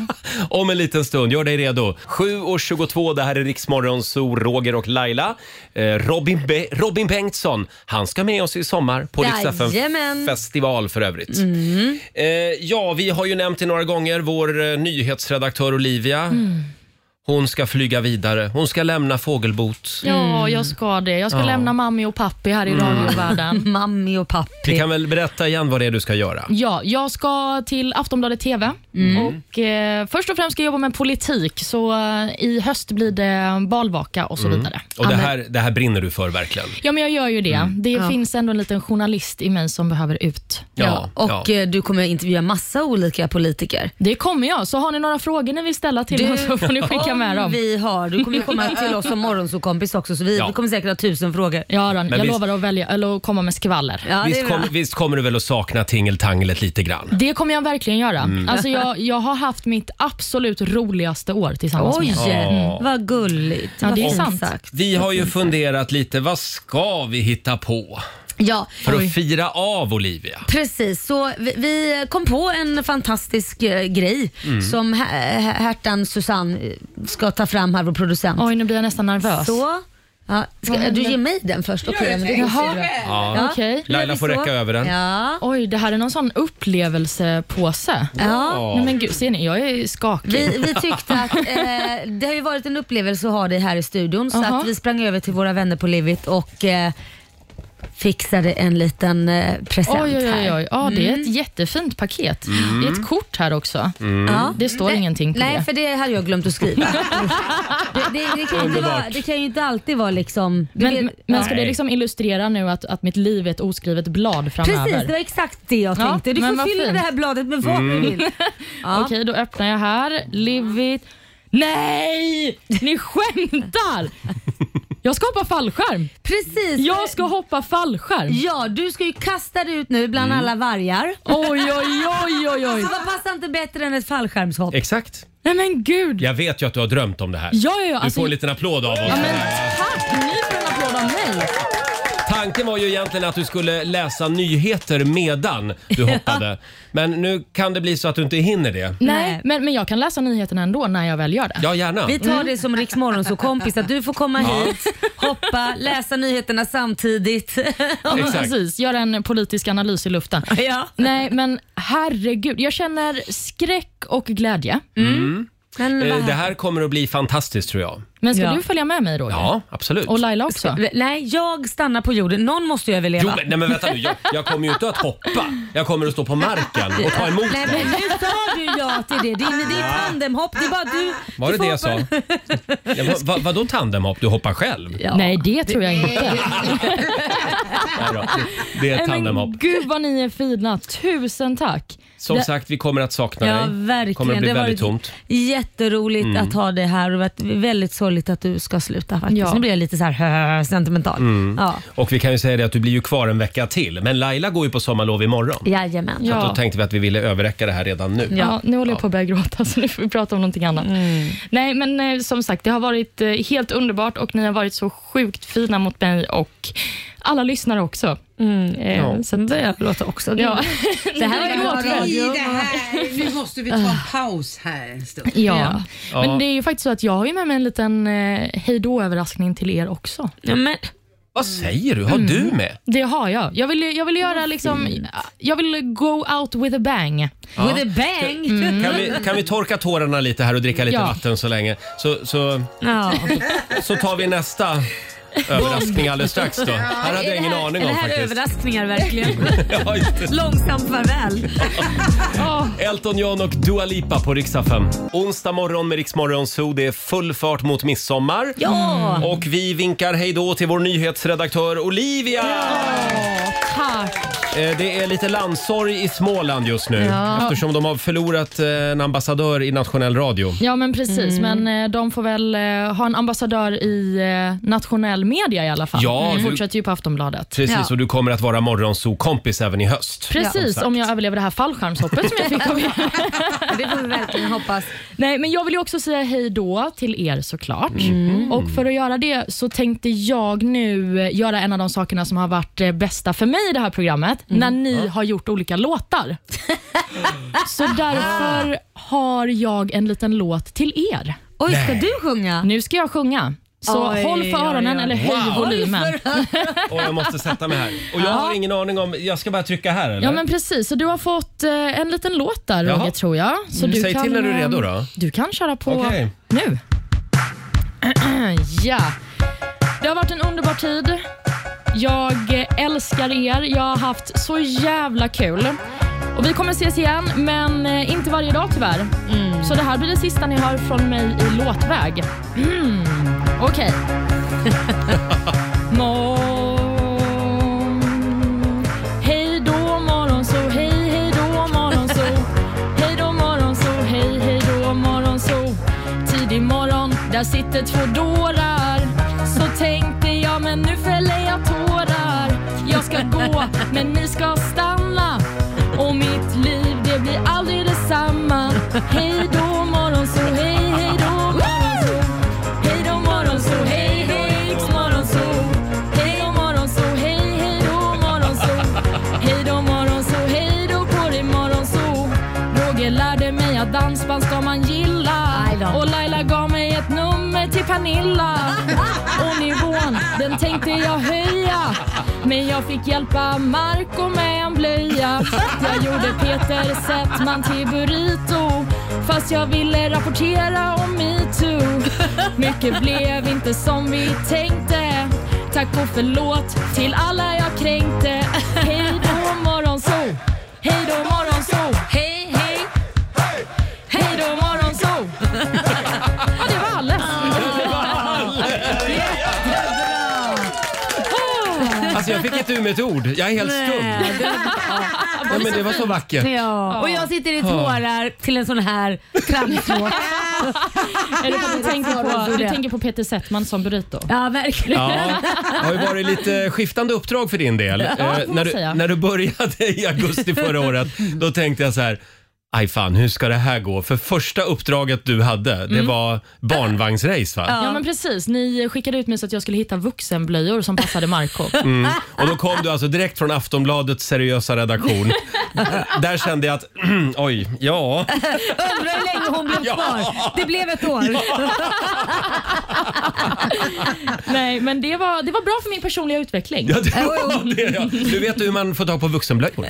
A: Om en liten stund, gör dig redo. 7.22, det här är Riksmorgon, så Roger och Laila. Eh, Robin, Be- Robin Bengtsson, han ska med oss i sommar på Riksdagen
B: Jajamän.
A: festival för övrigt.
C: Mm. Mm.
A: Eh, ja, vi har ju nämnt det några gånger, vår eh, nyhetsredaktör Olivia. Hon ska flyga vidare. Hon ska lämna fågelbot.
C: Ja, jag ska det. Jag ska
A: Mm. Ja. Mm.
C: lämna mammi och pappi här i radiovärlden.
B: Mammi och
A: Vi
B: pappi.
A: kan väl berätta igen vad det är du ska göra.
C: Ja, jag ska till Aftonbladet TV
A: Mm.
C: och eh, först och främst ska jag jobba med politik. Så eh, i höst blir det valvaka och så vidare.
A: Mm. Och det här, Mm. det här brinner du för verkligen.
C: Ja, men jag gör ju det. Det finns ändå en liten journalist i mig som behöver ut.
B: Ja, och
A: ja.
B: eh, du kommer intervjua massa olika politiker.
C: Det kommer jag. Så har ni några frågor ni vill ställa till mig så får ni skicka med
B: Om
C: dem.
B: vi har. Du kommer ju komma till oss som morgonsåkompis också så vi
A: Ja.
B: vi kommer säkert ha tusen frågor.
C: Ja, då, jag
A: visst-
C: lovar att, välja, eller att komma med skvaller.
B: Ja, det är
A: visst,
B: bra.
A: kom, visst kommer du väl att sakna tingeltanglet lite grann?
C: Det kommer jag verkligen göra.
A: Mm.
C: Alltså jag, jag har haft mitt absolut roligaste år tillsammans
B: Oj,
C: med er.
A: Ja.
B: vad gulligt.
C: Ja,
B: vad
C: det är
B: fint
C: sant.
B: sagt.
A: Vi har ju funderat lite, vad ska vi hitta på
B: Ja,
A: för att fira av Olivia?
B: Precis, så vi, vi kom på en fantastisk eh, grej
A: Mm.
B: som hä- hä- hertan Susanne eh, ska ta fram här, vår producent.
C: Oj, nu blir jag nästan nervös.
B: Så. Ja, ska, du ger mig den först? Okej, men det är
C: Jaha.
B: bra.
A: Ja.
C: Okej.
B: då gör
A: Laila
B: vi
A: får
B: så.
A: räcka över den.
B: Ja.
C: Oj, det här är någon sån upplevelsepåse.
B: ja.
A: Ja.
C: Nej, men gud, ser ni? Jag är skakig.
B: Vi, vi tyckte att eh, det har ju varit en upplevelse att ha dig här i studion så
C: Aha.
B: att vi sprang över till våra vänner på Livit och eh, fixade en liten eh, present
C: Oj, oj, oj.
B: här.
C: oj. Ja, det
B: Mm.
C: är ett jättefint paket. Det är ett kort här också.
B: Ja.
C: Det står ingenting på
B: Nej,
C: det.
B: för det hade jag glömt att skriva. det, det, det, kan ju inte vara, det kan ju inte alltid vara liksom... du
C: Men,
B: vet-
C: men- men ska
A: Nej.
C: det liksom illustrera nu att, att mitt liv är ett oskrivet blad framöver?
B: Precis, det var exakt det jag
C: Ja,
B: tänkte. du
C: men
B: får
C: vad
B: fylla
C: fint.
B: det här bladet med vad
A: Mm.
B: du vill. Ja.
C: Okej, då öppnar jag här. Livit. Nej! Ni skämtar! Jag ska hoppa fallskärm.
B: Precis.
C: Jag ska hoppa fallskärm.
B: Ja, du ska ju kasta dig ut nu bland
A: Mm.
B: alla vargar.
C: Oj, oj, oj, oj, oj.
B: Så Alltså, vad passar inte bättre än ett fallskärmshopp?
A: Exakt.
C: Nej men gud.
A: Jag vet ju att du har drömt om det här.
C: Ja, ja, ja.
A: Du
C: Alltså,
A: får en liten applåd av oss.
C: ja men tack! Ni får en applåd av mig.
A: Tanken var ju egentligen att du skulle läsa nyheter medan du hoppade. Men nu kan det bli så att du inte hinner det.
C: Nej, men, men jag kan läsa nyheterna ändå när jag väl gör det.
A: Ja, gärna.
B: Vi tar det
C: Mm.
B: som Riks kompis att du får komma hit, hoppa, läsa nyheterna samtidigt.
C: Ja,
A: Exakt.
C: precis. Gör en politisk analys i luften.
B: ja.
C: Nej, men herregud. Jag känner skräck och glädje.
B: Men
A: Eh,
B: vad
A: Det här kommer att bli fantastiskt tror jag.
C: Men ska
B: Ja.
C: du följa med mig, Roger?
A: Ja, absolut.
C: Och Laila också?
B: här- Nej, jag stannar på jorden. Någon måste ju
A: Jo,
B: överleva.
A: men, nej, men vänta nu. Jag, jag kommer ju inte att hoppa. Jag kommer att stå på marken och ta emot
B: Nej
A: dig.
B: men nu sa du ja till det. Det är, det är tandemhopp. Det är bara du.
A: Ah. Var det
B: du får
A: det jag sa?
B: hoppa-
A: Ja, va, va, vadå tandemhopp? Du hoppar själv?
B: Ja.
C: Nej, det tror jag inte.
A: Nej då. Det är ett
C: Nej,
A: tandemhopp.
C: men gud vad ni är fina. Tusen tack.
A: Som
C: det-
A: sagt, vi kommer att sakna
B: Ja,
A: dig.
B: verkligen.
A: kommer att bli
B: det har
A: väldigt
B: varit
A: tomt. Mm.
B: Jätteroligt att ha dig här och det har varit väldigt sorgligt att du ska sluta faktiskt.
C: Ja.
B: Nu blir jag lite så här sentimental.
A: Mm.
B: Ja.
A: Och vi kan ju säga det att du blir ju kvar en vecka till. Men Laila går ju på sommarlov imorgon.
B: Jajamän.
C: Ja.
A: Då tänkte vi att vi ville överräcka det här redan nu.
C: Ja, nu håller jag på att börja gråta så nu får vi prata om någonting annat. Nej, men eh, som sagt, det har varit eh, helt underbart och ni har varit så sjukt fina mot mig och alla lyssnare också. Eh, så att,
B: Jag låter också
C: ja.
B: Det här
C: Nu
B: var
C: låter jag.
J: I det här, nu måste vi ta en paus här en stund.
C: Ja.
A: Ja.
C: men det är ju faktiskt så att jag har ju med mig en liten eh, hejdå-överraskning till er också.
B: Ja, men,
A: Vad säger du? Har
B: Mm.
A: du med?
C: Det har jag. Jag vill, jag vill göra liksom, jag vill go out with a bang.
B: With a bang! Mm.
A: Kan vi, kan vi torka tårarna lite här och dricka lite
C: Ja.
A: vatten så länge? Så, så,
B: Ja.
A: så tar vi nästa överraskning alldeles strax då. Här hade jag ingen aning om
B: Det här är
A: faktiskt.
B: överraskningar verkligen.
A: Ja, just det.
B: Långsamt farväl.
A: Elton John och Dua Lipa på riksdag 5. Onsdag morgon med Riksmorgon Zoo. Det är full fart mot midsommar.
B: Ja!
A: Och vi vinkar hej då till vår nyhetsredaktör Olivia!
C: Tack.
A: Eh, Det är lite landsorg i Småland just nu eftersom de har förlorat eh, en ambassadör i nationell radio.
C: Ja, men precis.
A: Mm.
C: Men eh, de får väl eh, ha en ambassadör i eh, nationell media i alla fall.
A: Ja,
C: Vi
A: du-
C: fortsätter ju på Aftonbladet.
A: Precis,
B: Ja.
A: och du kommer att vara morgonsokompis även i höst.
C: Precis, om jag överlever det här fallskärmshoppet som jag fick av er.
B: Det får vi verkligen hoppas.
C: Nej, men jag vill ju också säga hej då till er såklart.
A: Mm.
C: Och för att göra det så tänkte jag nu eh, göra en av de sakerna som har varit eh, bästa för mig i det här programmet,
A: Mm.
C: när ni har gjort olika låtar. så därför har jag en liten låt till er.
B: Oj, ska du sjunga?
C: Nu ska jag sjunga. Så
B: Oj,
C: håll för
B: oj,
C: öronen
B: oj.
C: eller höj
A: Wow.
C: volymen.
A: Och jag måste sätta mig här. Och jag har ingen aning om... Jag ska bara trycka här eller?
C: Ja men precis, så du har fått eh, en liten låt där
A: Jaha.
C: Roger tror jag. Så du
A: Säg till när du är
C: eh,
A: redo då.
C: Du kan köra på
A: Okej.
C: nu. ja. Det har varit en underbar tid. Jag älskar er. Jag har haft så jävla kul. Och Vi kommer ses igen, men eh, inte varje dag tyvärr.
B: Mm.
C: Så det här blir det sista ni hör från mig i låtväg. Mm. Okej. Morgon. Hej då morgonso, hej hej då morgonso. Hej då morgonso, hej hej då morgonso. Tidig morgon, där sitter två dårar. Så tänkte jag, men nu fäller jag tårar. Jag ska gå, men ni ska stanna. Och mitt liv, det blir aldrig detsamma. Hej då morgonso, hej hej då morgonso. Hej då morgonso, hej då Riks morgonso. Hej då morgonso, hej hej då morgonso. Hej då morgonso, hej då på dig morgonso. Roger lärde mig att dansband ska man gilla. Och Laila gav mig ett nummer till Pernilla. Och nivån, den tänkte jag höja. Men jag fick hjälpa Marco med en blöja. Jag gjorde Peter Settman till burrito. Fast jag ville rapportera om metoo. Mycket blev inte som vi tänkte. Tack och förlåt till alla jag kränkte. Hej då morgonsol. Hej då morgonsol. Hej hej. Hej då morgonsol. Ja, det var Alles.
A: Alltså jag fick inte ur mig ett ord. Jag är helt stum. Nej, men det var så vackert.
B: Ja, och jag sitter i
A: Ja.
B: tårar till en sån här tramslåt.
C: Eller vad du tänker på, du tänker på Peter Settman som burrito?
B: Ja, verkligen.
A: Ja, det har ju varit lite skiftande uppdrag för din del. Eh,
C: Ja, får man
A: när, du,
C: säga. Mm.
A: när du började i augusti förra året, då tänkte jag så här. Aj fan, hur ska det här gå? För första uppdraget du hade, det var barnvagnsrace va?
C: Mm. Ja. men precis. Ni skickade ut mig så att jag skulle hitta vuxenblöjor som passade Marco.
A: Mm. Och då kom du alltså direkt från Aftonbladets seriösa redaktion. Där kände jag att, oj, ja.
B: Undrar hur länge hon blev
A: Ja.
B: kvar. Det blev ett år.
C: Nej, men det var, det var bra för min personliga utveckling.
A: ja, det var det, ja. Du vet hur man får tag på vuxenblöjor.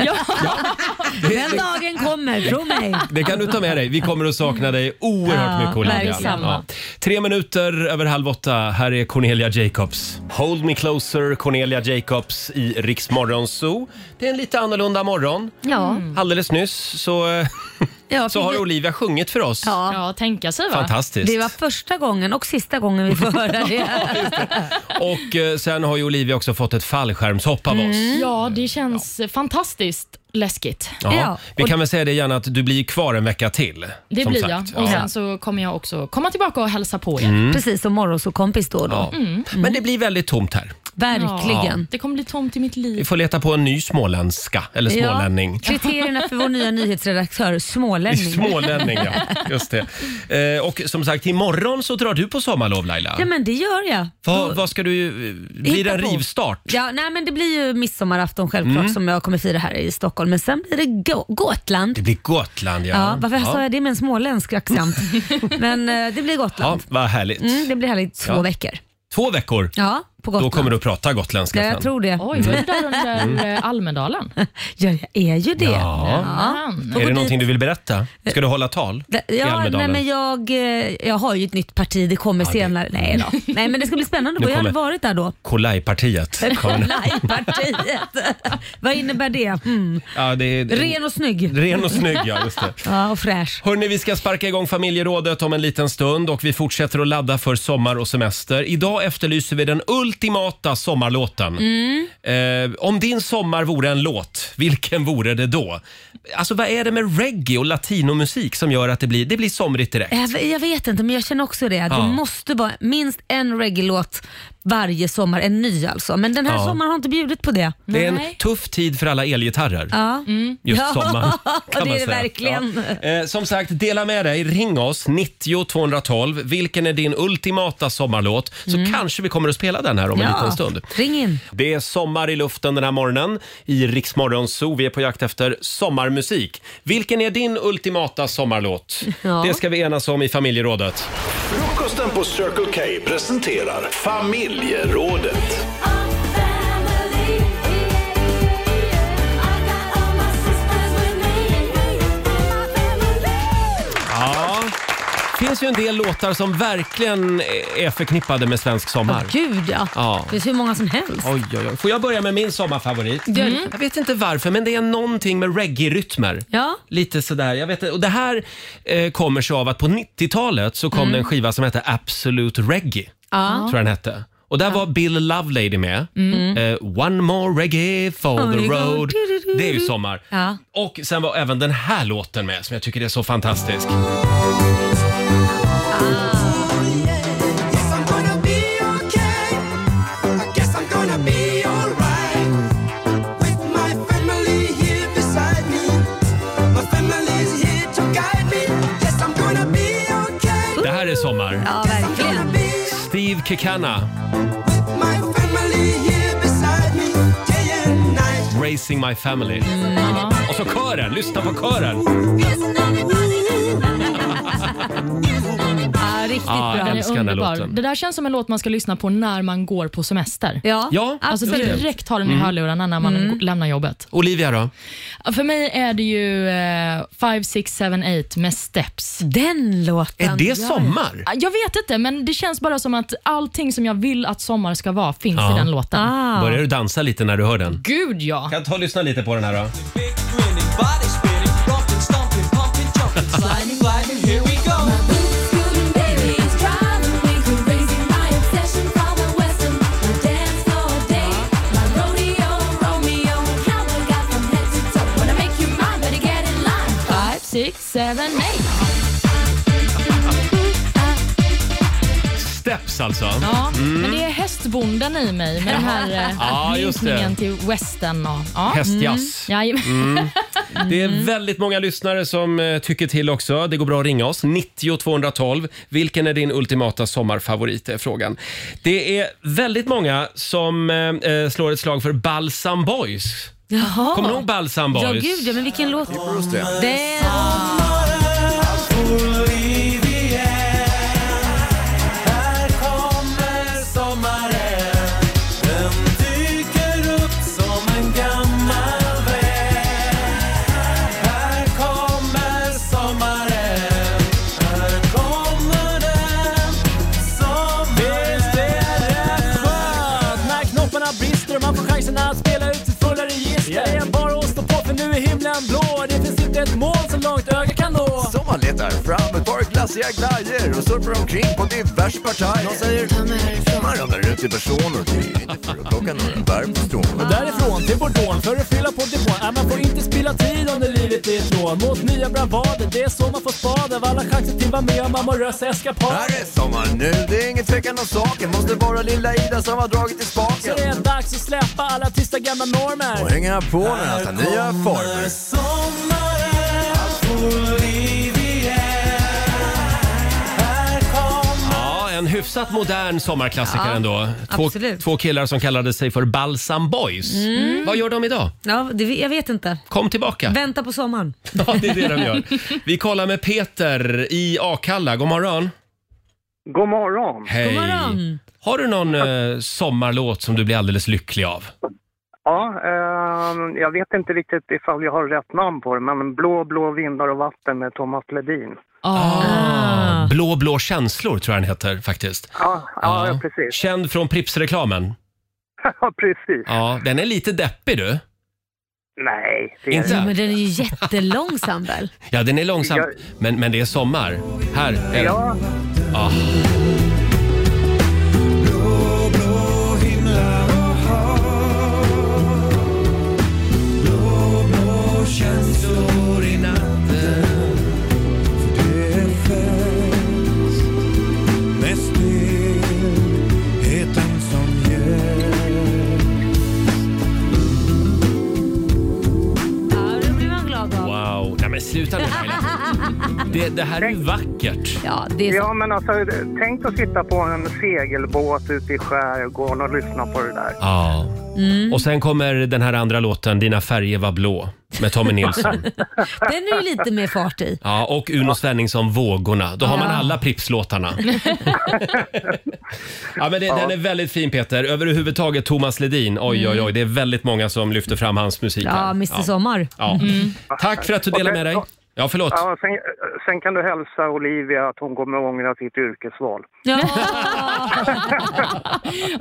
B: Den dagen kommer, tro mig.
A: Det kan du ta med dig. Vi kommer att sakna dig oerhört
B: Ja,
A: mycket Olivia.
B: verksamma.
A: Tre minuter över halv åtta. Här är Cornelia Jacobs. Hold me closer, Cornelia Jacobs i Rix Morgon Zoo. Det är en lite annorlunda morgon.
B: Ja.
A: Alldeles nyss så, eh,
B: Ja,
A: så
B: för
A: har
B: vi-
A: Olivia sjungit för oss.
B: Ja.
C: Ja, tänka sig va?
A: Fantastiskt.
B: Det var första gången och sista gången vi får höra det.
A: Och eh, sen har ju Olivia också fått ett fallskärmshopp av oss.
C: Ja, det känns fantastiskt läskigt.
A: Ja.
B: Ja.
A: Vi kan väl säga det gärna att du blir kvar en vecka till.
C: Det
A: som
C: blir
A: sagt.
C: jag.
A: Ja.
C: Och
A: Mm.
C: Sen så kommer jag också komma tillbaka och hälsa på er.
B: Precis som morgonsåkompis då och då.
A: Ja. Men det blir väldigt tomt här.
B: Verkligen.
C: Det kommer bli tomt i mitt
A: Vi
C: liv.
A: får leta på en ny småländska, eller
B: Ja.
A: smålänning.
B: Kriterierna för vår nya nyhetsredaktör, smålänning.
A: Smålänning, ja. Just det. Eh, och som sagt, imorgon så drar du på sommarlov Laila.
B: Ja men det gör jag.
A: Vad vad ska du... eh, Blir det en
B: Hitta på.
A: rivstart? Mm.
B: Ja, nej, men det blir ju midsommarafton självklart som jag kommer fira här i Stockholm men sen blir det Go- Gotland.
A: Det blir Gotland, ja.
B: Ja, varför sa
A: ja.
B: jag det med en småländsk accent? men eh, det blir
A: ja,
B: Gotland.
A: vad härligt.
B: Mm, det blir härligt två
A: Ja.
B: veckor.
A: Två veckor,
B: Ja, på
A: då
B: Gotland.
A: kommer du att prata gotländska
B: ja,
A: sen.
B: jag tror det.
C: Oj, var du där under
A: Mm.
C: eh, Almedalen?
B: Ja, jag är ju det.
A: Ja.
C: Man.
A: Är
B: gå
A: det
B: dit.
A: någonting du vill berätta? Ska du hålla tal i
B: Eh, Ja, nej,
A: Almedalen?
B: men jag, eh, jag har ju ett nytt parti, det kommer
A: det-
B: senare. Nej, då. nej, men det ska bli spännande.
A: Nu
B: Jag har aldrig
A: kommer-
B: varit där då.
A: Kolajpartiet.
B: Livepartiet. Vad innebär det? Mm.
A: Ja, det är...
B: Ren och snygg.
A: Ren och snygg, ja. Just det.
B: Ja, och fräsch.
A: Hörni, vi ska sparka igång familjerådet om en liten stund och vi fortsätter att ladda för sommar och semester. Idag efterlyser vi den ultimata sommarlåten.
B: Mm.
A: Eh, om din sommar vore en låt, vilken vore det då? Alltså vad är det med reggae och latinomusik som gör att det blir, det blir somrigt direkt?
B: Jag, jag vet inte, men jag känner också det.
A: Ja.
B: Det måste vara minst en reggae-låt varje sommar. En ny alltså. Men den här
A: Ja.
B: sommaren har inte bjudit på det.
A: Det är en
C: Nej.
A: tuff tid för alla elgitarrer.
B: Ja.
A: Just
B: Ja,
A: sommar.
B: det är
A: man
B: det
A: säga.
B: verkligen.
A: Ja. Eh, som sagt, dela med dig. Ring oss, 90 212. Vilken är din ultimata sommarlåt? Så
B: Mm.
A: kanske vi kommer att spela den här om en liten stund.
B: Ring in.
A: Det är sommar i luften den här morgonen i Riksmorgon Zoo. Vi är på jakt efter sommarmusik. Vilken är din ultimata sommarlåt?
B: Ja.
A: Det ska vi enas om i familjerådet.
F: Frukosten på Circle K presenterar Familjerådet.
A: Ja. finns ju en del låtar som verkligen är förknippade med svensk sommar.
B: Gud ja.
A: Ja.
B: Det finns hur många som helst. Mm.
A: Oj, oj, oj. Får jag börja med min sommarfavorit?
B: Gör det.
A: Jag vet inte varför, men det är någonting med reggae-rytmer.
B: Ja.
A: Lite sådär. Jag vet, inte. och det här eh, kommer sig av att på 90-talet så kom
B: Mm.
A: det en skiva som hette Absolute Reggae.
B: Ja.
A: Tror jag den hette. Och där var Bill Lovelady med.
B: Mm.
A: Eh, One more reggae for
B: Oh,
A: the
B: you go.
A: road. Det är ju sommar.
B: Ja.
A: Och sen var även den här låten med som jag tycker är så fantastisk. Det här är sommar.
B: Ja, verkligen.
A: Steve Kekana, Raising My Family. Och så kören, lyssna på kören.
B: Ja, riktigt
A: Ja,
B: bra.
A: jag älskar den här
C: Underbar.
A: låten.
C: Det där känns som en låt man ska lyssna på när man går på semester.
B: Ja,
A: Ja,
C: Alltså
A: absolut.
C: direkt ha den i
A: Mm.
C: hörlurarna när man
A: Mm.
C: g- lämnar jobbet.
A: Olivia då?
C: För mig är det ju eh, Five, Six, Seven, Eight med Steps.
B: Den låten.
A: Är det sommar?
C: Ja, Jag vet inte, men det känns bara som att allting som jag vill att sommar ska vara finns
A: Ja.
C: i den låten.
A: Börjar du dansa lite när du hör den?
C: Gud ja!
A: Kan ta och lyssna lite på den här då.
C: Five, six, seven, eight.
A: Steps alltså.
C: Ja,
A: Mm.
C: men det är hästbonden i mig med den här eh,
A: Ja, just det.
C: anknytningen till western. Och, ja.
A: Hästjazz.
C: Mm. Jajamän.
A: Mm. Det är väldigt många lyssnare som eh, tycker till också. Det går bra att ringa oss. 90 212. Vilken är din ultimata sommarfavorit? Det är frågan. Det är väldigt många som eh, eh, slår ett slag för Balsam Boys.
B: Jaha.
A: Kommer du ihåg Balsam Boys?
B: Ja, gud ja, men vilken låt.
A: det.
B: Den.
K: När knopparna brister och man får chansen att spela ut sitt fulla register. Det är bara att stå på för nu är himlen blå. Det finns inte ett moln så långt ögat kan nå.
L: Som man letar fram ett par glassiga glajer och surfar omkring på diverse partier. Någon säger ta mig härifrån. Man ramlar ut i personer och det är inte för att plocka några bär på strån.
K: Och därifrån till Bordeaux för att fylla på depån. Äh, man får inte spilla tid om det livet är ett lån. Mot nya bravader, det är så man får spad av alla chanser till vara med om amorösa eskapader.
L: Här är sommar nu, det är ingen tvekan om saken. Måste vara lilla Ida som har dragit i
K: Så
L: spaken.
K: det är dags att släppa alla tysta gamla normer.
L: Och hänga på med att ta nya former.
A: Ja, en hyfsat modern sommarklassiker
B: Ja,
A: ändå. Två,
B: absolut.
A: två killar som kallade sig för Balsam Boys.
B: Mm.
A: Vad gör de idag?
B: Ja, det, jag vet inte.
A: Kom tillbaka.
B: Vänta på sommaren.
A: Ja, det är det de gör. Vi kollar med Peter i Akalla. God morgon.
I: God morgon.
A: Hej.
I: God morgon.
A: Har du någon eh, sommarlåt som du blir alldeles lycklig av?
I: Ja, ehm, jag vet inte riktigt ifall jag har rätt namn på det, men Blå, blå vindar och vatten med Thomas Ledin.
A: Ah. Blå blå känslor tror jag den heter faktiskt.
I: Ja, ja,
A: Ja.
I: precis.
A: Känd från Pripps-reklamen.
I: Ja, precis.
A: Ja, den är lite deppig du.
I: Nej, det
A: Inte?
B: Ja, men den är ju jättelångsam väl?
A: Ja, den är långsam, men, men det är sommar. Här är den.
I: Ja.
A: Ah.
B: Ja, det blir man glad av.
A: Wow. Nej, men sluta nu Laila. Det, det här är ju vackert.
B: Ja,
I: ja, men alltså tänk att sitta på en segelbåt ute i skärgården och lyssna på det där.
A: Ja. Och sen kommer den här andra låten, Dina färger var blå, med Tommy Nilsson.
B: Den är ju lite mer fart i.
A: Ja, och Uno Svenningsson, Vågorna. Då har man
B: Ja.
A: alla Pripps-låtarna. ja, men det, Den är väldigt fin Peter. Överhuvudtaget Thomas Ledin. Oj, oj, oj. Det är väldigt många som lyfter fram hans musik. här.
B: Ja, Mr Sommar.
A: Ja.
B: Mm.
A: Tack för att du delar med dig. Ja, förlåt.
M: Ja, sen, sen kan du hälsa Olivia att hon kommer att ångra sitt yrkesval.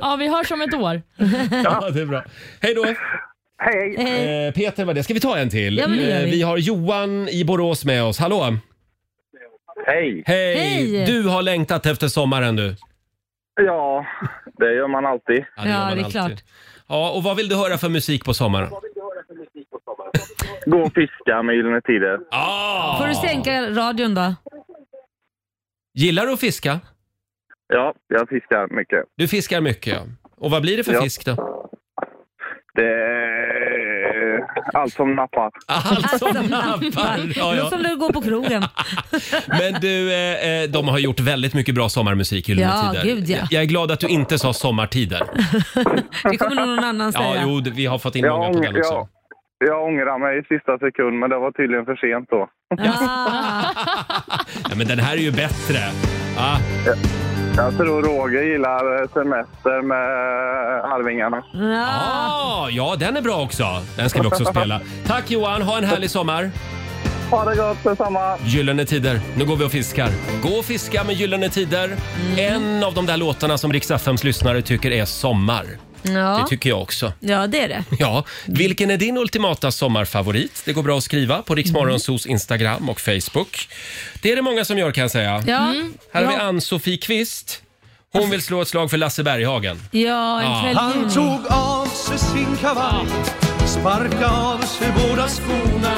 C: Ja, vi hörs om ett år.
A: Ja, det är bra. Hej då!
M: Hej!
A: Eh, Peter var det. Ska vi ta en till?
C: Ja, men det gör
A: Eh,
C: vi.
A: vi har Johan i Borås med oss. Hallå!
I: Hej!
A: Hej!
I: Hej.
A: Du har längtat efter sommaren du.
I: Ja, det gör man alltid.
A: Ja, det gör man alltid. Ja, och vad vill du höra för musik på sommaren?
I: Gå och fiska med Gyllene Tider.
A: Ah!
B: Får du sänka radion då?
A: Gillar du att fiska?
I: Ja, jag fiskar mycket.
A: Du fiskar mycket ja. Och vad blir det för
I: Ja.
A: fisk då?
I: Det är allt som nappar.
A: Allt
B: Alltså,
A: som nappar! Ja,
B: Låt som
A: ja.
B: du går på krogen.
A: Men du, eh, eh, de har gjort väldigt mycket bra sommarmusik i Gyllene
B: Ja,
A: Tider.
B: gud, ja.
A: Jag- Jag är glad att du inte sa sommartider.
B: Det kommer nog någon annan
A: Ja,
B: säga.
A: jo, det- vi har fått in
I: Jag,
A: många på
I: ång-
A: den också.
I: jag, jag ångrar mig i sista sekund, men det var tydligen för sent då.
A: Ja, men den här är ju bättre. Ah.
I: Jag tror Roger gillar eh, Semester med Arvingarna.
A: Ah, ja, den är bra också. Den ska vi också spela. Tack Johan, ha en härlig sommar.
I: Ha det gott detsamma!
A: Gyllene Tider. Nu går vi och fiskar. Gå och fiska med Gyllene Tider. En av de där låtarna som Rix FMs lyssnare tycker är sommar.
B: Ja.
A: Det tycker jag också.
B: ja, det är det.
A: Ja, vilken är din ultimata sommarfavorit? Det går bra att skriva på Riksmorgonsos
B: Mm.
A: Instagram och Facebook. Det är det många som gör kan jag säga.
B: Ja. Mm.
A: Här har vi
B: Ja.
A: Ann-Sofie Kvist. Hon vill slå ett slag för Lasse Berghagen.
B: Ja, en
A: Ja.
B: kväll i
N: Han
B: juni.
N: tog av sig sin kavaj, sparkade av sig båda skorna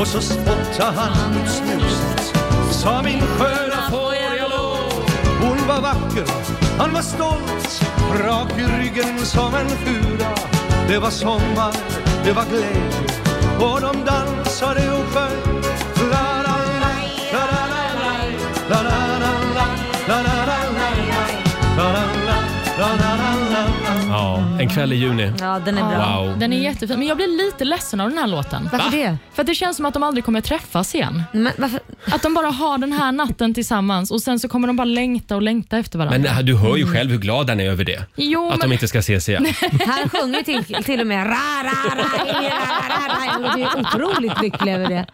N: och så spottade han ut snuset. Sa min sköna får jag lov. Hon var vacker, han var stolt, rak i ryggen som en fura. Det var sommar, det var glädje och de dansade och sjöng. La, la, la, la, la, la, la, la, la, la, la, la, la, la, la, la, la, la, la, la, la.
A: Ja, en kväll i juni.
B: Ja, den
C: är
A: bra. Wow.
C: Den är jättefin, men jag blir lite ledsen av den här låten.
B: Varför det?
C: För att det känns som att de aldrig kommer träffas igen.
B: Men varför?
C: Att de bara har den här natten tillsammans och sen så kommer de bara längta och längta efter varandra.
A: Men eh, du hör ju själv hur glad han är över det.
C: Jo,
A: att
C: men-
A: de inte ska ses igen.
B: Han sjunger till, till och med ra, ra, ra, i, ra, ra, ra. Jag blir otroligt lycklig över det.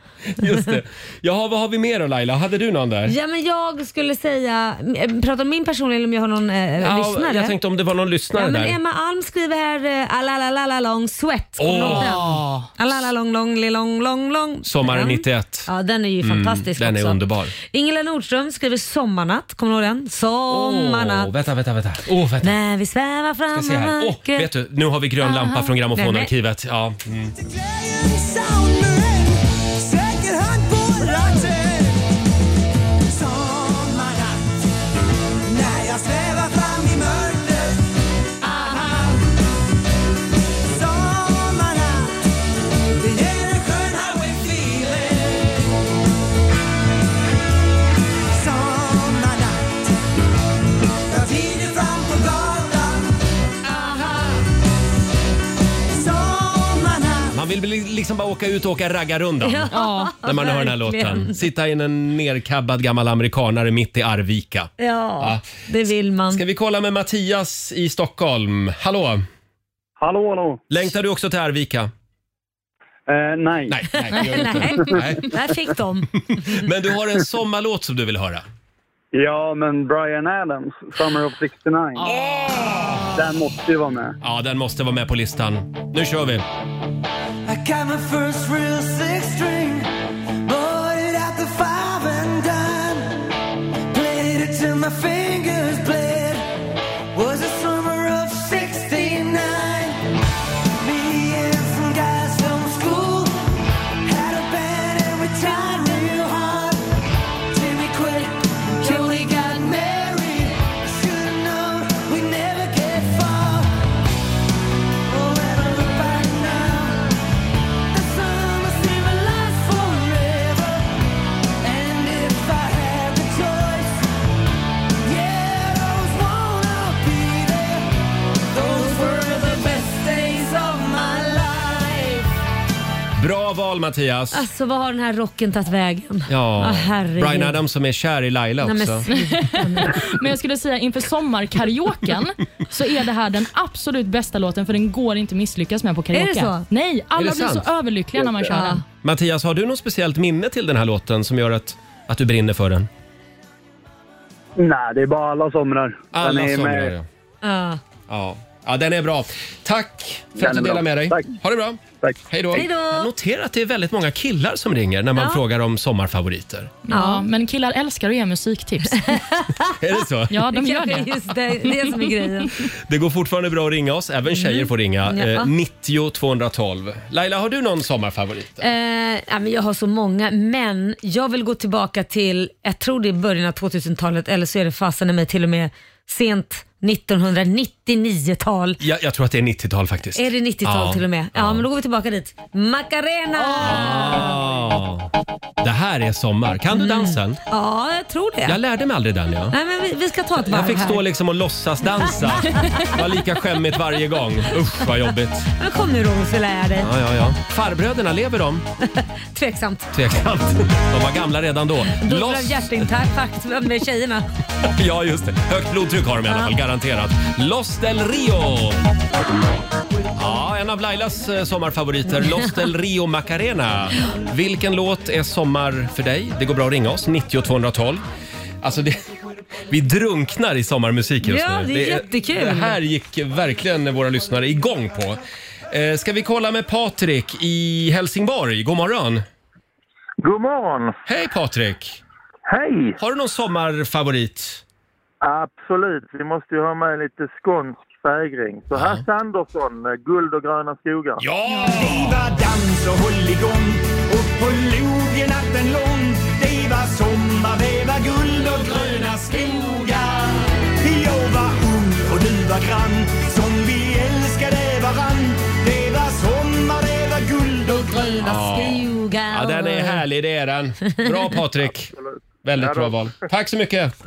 A: Just det. Jaha, vad har vi mer då Laila? Hade du någon där?
B: Ja, men jag skulle säga, eh, prata om min personliga eller om jag har någon eh,
A: Ja,
B: lyssnare.
A: jag tänkte om det var någon lyssnare
B: Ja, men
A: där.
B: Emma Alm skriver här eh, alalalala long sweat. Kommer du ihåg den?
A: Åh.
B: Alala long long li long long long.
A: Sommaren
B: Den.
A: 91.
B: Ja, den är ju
A: Mm,
B: fantastisk
A: Den
B: också.
A: är underbar.
B: Ingela Nordström skriver sommarnatt. Kommer du ihåg den? Sommarnatt.
A: Åh, vänta, vänta, vänta. Åh, vänta.
B: När vi svävar
A: Ska
B: fram
A: se här. Åh, vet du, nu har vi grön lampa
B: Aha.
A: från
B: Nej,
A: grammofonarkivet. Ja. Mm. Man vill bli- liksom bara åka ut och åka raggarrundan
B: Ja,
A: när man hör den här
B: verkligen.
A: låten. Sitta i en nerkabbad gammal amerikanare mitt i Arvika.
B: Ja, det vill man.
A: Ska vi kolla med Mattias i Stockholm? Hallå?
O: Hallå, hallå. Eh,
A: Längtar du också till Arvika?
O: nej.
A: Nej, nej, det gör du
B: Nej,
A: inte. nej.
B: där fick de.
A: Men du har en sommarlåt som du vill höra.
O: Ja, men Brian Adams, Summer of 69. Den måste ju vara med.
A: Ja, den måste vara med på listan. Nu kör vi!
N: I got my first real six string, bought it at the five and dime, played it till my fingers bled. Was the summer of '69. Me and some guys from school had a band and we tried real hard. Jimmy quit, Jody got married. Should've known we never get far. Oh, and I look back now. The summer
A: skandal Mattias.
B: Alltså vad har den här rocken tagit vägen?
A: Ja,
B: Ah, herregud.
A: Bryan Adams som är kär i Laila
B: Nej, men
A: också.
C: Men jag skulle säga inför sommarkaraoken så är det här den absolut bästa låten för den går inte att misslyckas med på karaoke.
A: Är det så?
C: Nej, alla
A: Är
C: blir
A: det sant?
C: så överlyckliga när man kör den.
A: Mattias, har du något speciellt minne till den här låten som gör att, att du brinner för den?
P: Nej, det är bara alla somrar.
A: Alla
P: Den är
A: somrar,
P: med-
A: ja. Ja. ja, den är bra. Tack för
P: Den
A: att du
P: är bra.
A: delade med dig.
P: Tack.
A: Ha det bra. Tack. Hej då.
C: Hej då.
A: Jag noterar att det är väldigt många killar som ringer när man
C: Ja.
A: frågar om sommarfavoriter.
C: Ja, men killar älskar att ge musiktips.
A: Är det så?
C: Ja, de
B: Det
C: gör
B: kanske
C: det.
B: är just det- det som är grejen.
A: Det går fortfarande bra att ringa oss. Även tjejer får ringa.
B: Mm. Ja.
A: Eh, 90 212. Laila, har du någon sommarfavorit?
B: Eh, ja, men jag har så många, men jag vill gå tillbaka till, jag tror det är början av 2000-talet eller så är det fasen i mig till och med sent 1999-tal.
A: Jag, jag tror att det är 90-tal faktiskt.
B: Är det 90-tal
A: Ja.
B: till och med? Ja, men då går vi tillbaka dit. Macarena!
A: Ah. Det här är sommar. Kan
B: Mm.
A: du dansen?
B: Ja, jag tror det.
A: Jag lärde mig aldrig den. Ja.
B: Nej, men vi, vi ska ta ett varv
A: Jag fick
B: här.
A: stå liksom och låtsas dansa. Det var lika skämmigt varje gång. Usch vad jobbigt.
B: Men kom nu Roger så lär jag dig.
A: Ja, ja, ja. Farbröderna, lever de?
B: Tveksamt.
A: Tveksamt. De var gamla redan då.
B: Dubbel
A: Loss...
B: av hjärtinfarkt med tjejerna.
A: Ja, just det. Högt blodtryck har de i alla fall, garanterat. Los del Rio! Ja, en av Lailas eh, sommarfavoriter, Los del Rio Macarena. Vilken låt är sommar för dig? Det går bra att ringa oss, 90 212. Alltså det, vi drunknar i sommarmusik just
B: Ja,
A: nu.
B: det är jättekul.
A: Det här gick verkligen våra lyssnare igång på. Eh, Ska vi kolla med Patrik i Helsingborg? God morgon!
Q: God morgon!
A: Hej Patrik!
Q: Hej!
A: Har du någon sommarfavorit?
Q: Absolut, vi måste ju ha med lite skånsk fägring. Så Hasse Andersson, eh, Guld och gröna skogar.
A: Ja!
N: Driva dans och håll igång Upp på logen natten lång Det var sommar, det var guld och gröna skogar Jag var ung och du var grann Som vi älskade varann Det var sommar, det var guld och gröna skogar
A: Ja, den är härlig, det är den. Bra Patrik. Väldigt
Q: Ja då.
A: bra val. Tack så mycket.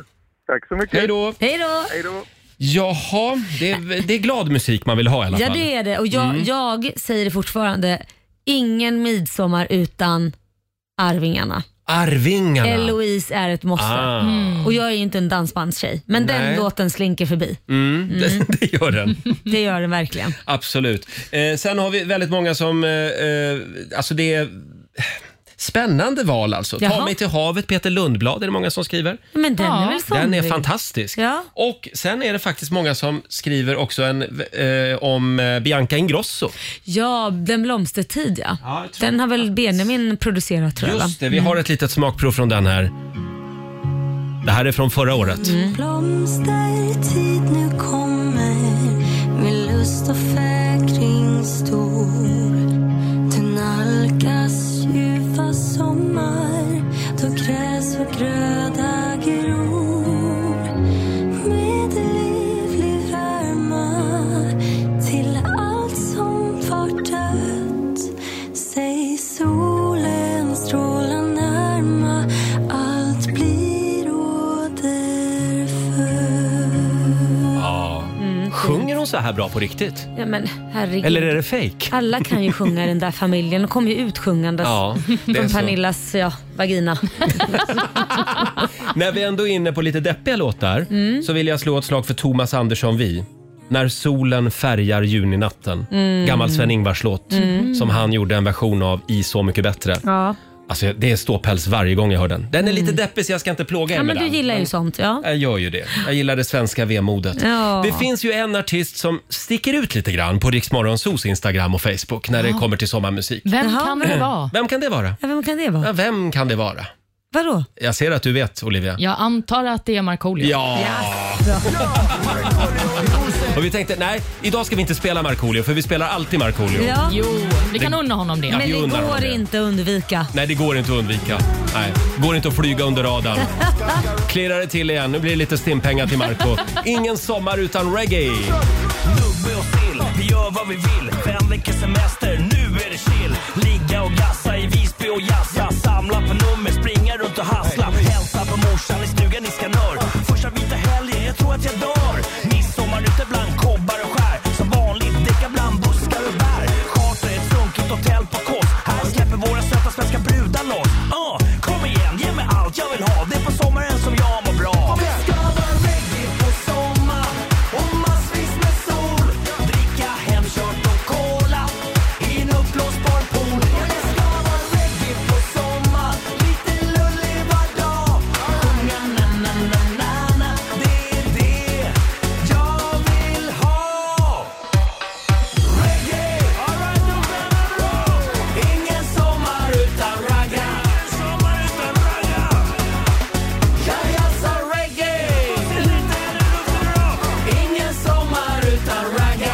Q: Tack så mycket.
A: Hej då.
B: Hej då!
A: Jaha, det är, det är glad musik man vill ha i alla
B: Ja,
A: fall.
B: det är det. Och jag,
A: Mm.
B: jag säger det fortfarande. Ingen midsommar utan Arvingarna.
A: Arvingarna.
B: Eloise är ett måste.
A: Ah. Mm.
B: Och jag är ju inte en dansbandstjej, men den
A: Nej.
B: låten slinker förbi.
A: Mm, Det, det gör den.
B: Det gör den verkligen.
A: Absolut. Eh, sen har vi väldigt många som... Eh, eh, alltså det är spännande val alltså. Ta
B: Jaha.
A: mig till havet, Peter Lundblad är det många som skriver.
B: Men den är väl
A: Den är
B: somrig?
A: fantastisk.
B: Ja.
A: Och sen är det faktiskt många som skriver också en, eh, om eh, Bianca Ingrosso.
B: Ja, Den blomstertid ja. den har väl Benjamin producerat tror jag va? Mm.
A: Just det, vi har ett litet smakprov från den här. Det här är från förra året.
B: Mm.
N: Blomstertid nu kommer med lust och fägring stor. Du nalkas ljuva sommar då gräs och gröda gror. Med liv livrarma till allt som var dött. Säg solen stråla närma, allt blir återfött.
A: Ja. Sjunger hon så här bra på riktigt?
B: Ja, men herregud.
A: Eller är det fejk?
B: Alla kan ju sjunga i den där familjen. De kommer ju utsjungandes
A: Ja, det är
B: från
A: så.
B: Pernillas ja, vagina.
A: När vi ändå är inne på lite deppiga låtar
B: Mm.
A: så vill jag slå ett slag för Thomas Andersson Vi. När solen färgar juninatten.
B: Mm.
A: Gammal Sven-Ingvars-låt
B: Mm.
A: som han gjorde en version av i Så mycket bättre.
B: Ja. Mm.
A: Alltså, det är ståpäls varje gång jag hör den. Den är lite deppig så jag ska inte plåga er
B: ja,
A: med
B: men
A: den.
B: du gillar ju sånt ja.
A: Jag gör ju det. Jag gillar det svenska vemodet.
B: Ja.
A: Det finns ju en artist som sticker ut lite grann på Riksmorgonsos Instagram och Facebook när det
B: Ja.
A: kommer till sommarmusik.
C: Vem kan det vara?
A: Vem kan det vara?
B: Ja, vem kan det vara?
A: Ja, vem kan det vara?
B: Vadå?
A: Jag ser att du vet, Olivia.
C: Jag antar att det är Markoolio.
A: Ja. Och vi tänkte, nej, idag ska vi inte spela Markoolio för vi spelar alltid Markoolio.
B: Ja.
C: Jo, vi kan unna honom det.
A: Ja,
B: Men
A: vi
B: det
A: unnar
B: går
A: honom det.
B: inte att undvika.
A: Nej, det går inte att undvika. Nej, går inte att flyga under radarn. Klirrar det till igen. Nu blir det lite stimpengar till Marco. Ingen sommar utan reggae.
K: Nubbe och sill, vi gör vad vi vill. Fem veckors semester, nu är det chill. Ligga och gassa i Visby och jassa. Samla på nummer, springa runt och hassla. Hälsa på morsan i stugan i Skanör. Första vita helgen, jag tror att jag dör. Midsommar ute bland kobbar och skär. Som vanligt däckar bland buskar och bär. Charter ett sunkigt hotell på Kos. Här släpper våra Ah, vill ha. Det är på sommaren som jag mår bra. Vi ska vara reggae på sommar och massvis med sol. Dricka hemkört och cola i en uppblåsbar pool. Ja, det ska vara reggae på sommar, lite lullig var dag. Sjunga na-na-na-na-na, det är det jag vill ha. Reggae, alright nu blir det bra. Ingen sommar utan ragga. sommar utan ragga. Ja, jag sa reggae. Ingen sommar utan ragga.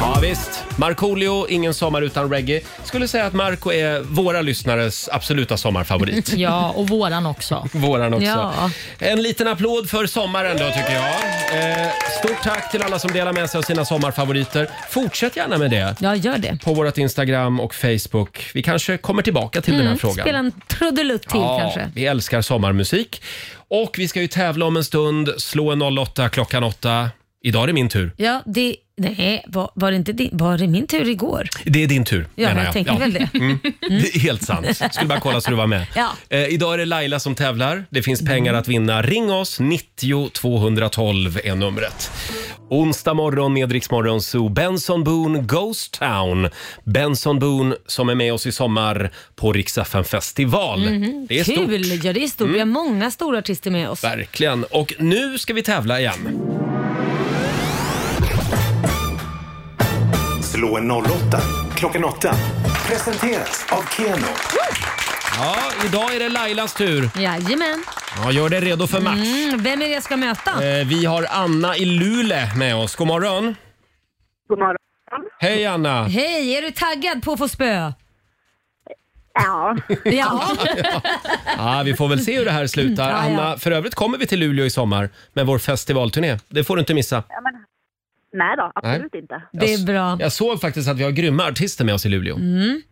A: Ja visst. Markoolio, Ingen sommar utan reggae. Skulle säga att Marco är våra lyssnares absoluta sommarfavorit.
C: Ja, och våran också.
A: Våran också.
C: Ja.
A: En liten applåd för sommaren då tycker jag. Eh, stort tack till alla som delar med sig av sina sommarfavoriter. Fortsätt gärna med det.
B: Ja, gör det.
A: På vårt Instagram och Facebook. Vi kanske kommer tillbaka till den här frågan.
B: Mm, Spela en trudelutt till
A: ja,
B: kanske.
A: Vi älskar sommarmusik. Och vi ska ju tävla om en stund. Slå en 08 klockan 8. Idag är det min tur.
B: Ja, det, nej, var, var, det inte din, var det min tur igår?
A: Det är din tur,
B: Ja,
A: menar
B: jag tänker väl det.
A: Mm. Det är helt sant. Skulle bara kolla så du var med.
B: Ja. Mm.
A: Eh, idag är det Laila som tävlar. Det finns pengar att vinna. Ring oss, 90 212 är numret. Onsdag morgon med Rix Morgon Zoo. Benson Boone Ghost Town. Benson Boone som är med oss i sommar på Rix FM festival.
B: Mhm.
A: Det är stort. Mm.
B: Kul! Ja, det är stort. Vi har många stora artister med oss.
A: Verkligen. Och nu ska vi tävla igen.
F: Slå en 08 klockan 8. Presenteras av Keno.
A: Ja, idag är det Lailas tur.
B: Jajamän.
A: Ja, gör dig redo för match.
B: Mm, vem är det jag ska möta?
A: Eh, Vi har Anna i Lule med oss. God morgon.
G: God morgon.
A: Hej Anna!
B: Hej, är du taggad på att få spö?
G: Ja.
B: Ja.
A: Ja, vi får väl se hur det här slutar.
B: Ja, ja.
A: Anna, för övrigt kommer vi till Luleå i sommar med vår festivalturné. Det får du inte missa.
G: Nej då, absolut
A: Nej.
G: inte.
A: Det
B: är bra.
A: Alltså, Jag såg faktiskt att vi har grymma artister med oss i Luleå.
B: Mm.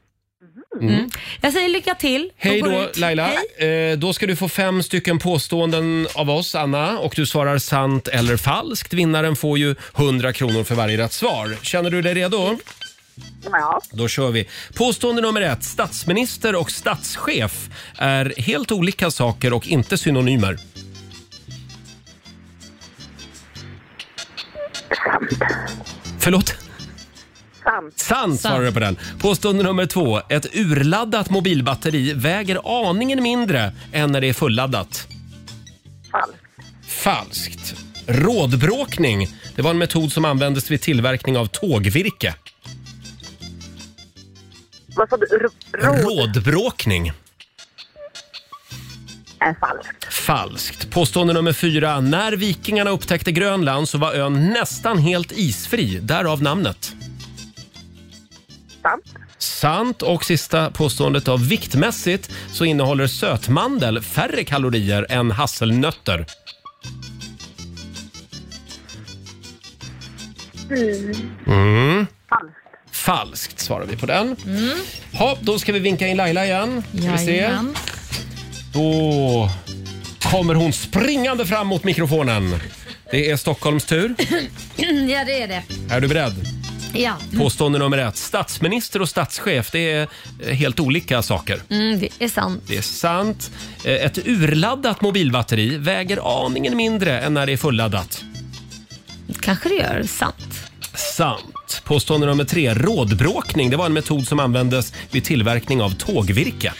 A: Mm.
B: Mm. Jag säger lycka till.
A: Hej
B: går
A: då
B: ut.
A: Laila.
B: Hej.
A: Eh, då ska du få fem stycken påståenden av oss, Anna. Och du svarar sant eller falskt. Vinnaren får ju 100 kronor för varje rätt svar. Känner du dig redo?
G: Ja.
A: Då kör vi. Påstående nummer ett. Statsminister och statschef är helt olika saker och inte synonymer. Förlåt?
G: Sant.
A: Sant svarade du på den. Påstående nummer två. Ett urladdat mobilbatteri väger aningen mindre än när det är fulladdat. Falskt. Falskt. Rådbråkning. Det var en metod som användes vid tillverkning av tågvirke.
G: Vad sa du? Råd?
A: Rådbråkning.
G: Är falskt.
A: Falskt. Påstående nummer fyra. När vikingarna upptäckte Grönland så var ön nästan helt isfri. Därav namnet.
G: Sant.
A: Sant. Och sista påståendet av viktmässigt så innehåller sötmandel färre kalorier än hasselnötter.
G: Mm.
A: Mm. Falskt. Falskt svarar vi på den. Ha, då ska vi vinka in Laila igen. Ska vi se.
C: Jajamän.
A: Då kommer hon springande fram mot mikrofonen. Det är Stockholms tur.
B: ja, det är det.
A: Är du beredd?
B: Ja.
A: Påstående nummer ett. Statsminister och statschef, det är eh, helt olika saker.
B: Mm, det är sant.
A: Det är sant. Eh, Ett urladdat mobilbatteri väger aningen mindre än när det är fulladdat.
B: Kanske det gör. Sant.
A: Sant. Påstående nummer tre. Rådbråkning, det var en metod som användes vid tillverkning av tågvirke.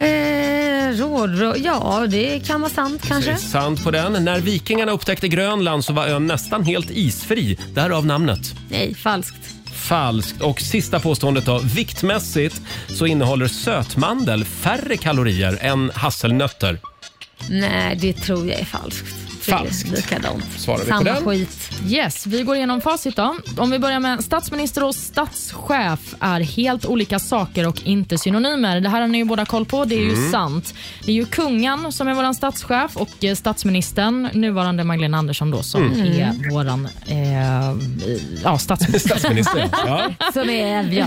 B: Eh, råd, råd. Ja, det kan vara sant kanske.
A: Säg sant på den. När vikingarna upptäckte Grönland så var ön nästan helt isfri, därav namnet.
B: Nej, falskt.
A: Falskt. Och sista påståendet då. Viktmässigt så innehåller sötmandel färre kalorier än hasselnötter.
B: Nej, det tror jag är falskt. Falskt. Det är likadant.
A: Svarar vi på
B: Samma
A: den?
B: skit.
C: Yes, vi går igenom facit då. Om vi börjar med statsminister och statschef är helt olika saker och inte synonymer. Det här har ni ju båda koll på, det är ju
R: Mm.
C: sant. Det är ju kungen som är våran statschef och eh, statsministern, nuvarande Magdalena Andersson då, som
B: Mm.
C: är våran eh, ja, statsminister.
A: Statsminister, ja.
B: Som är, ja.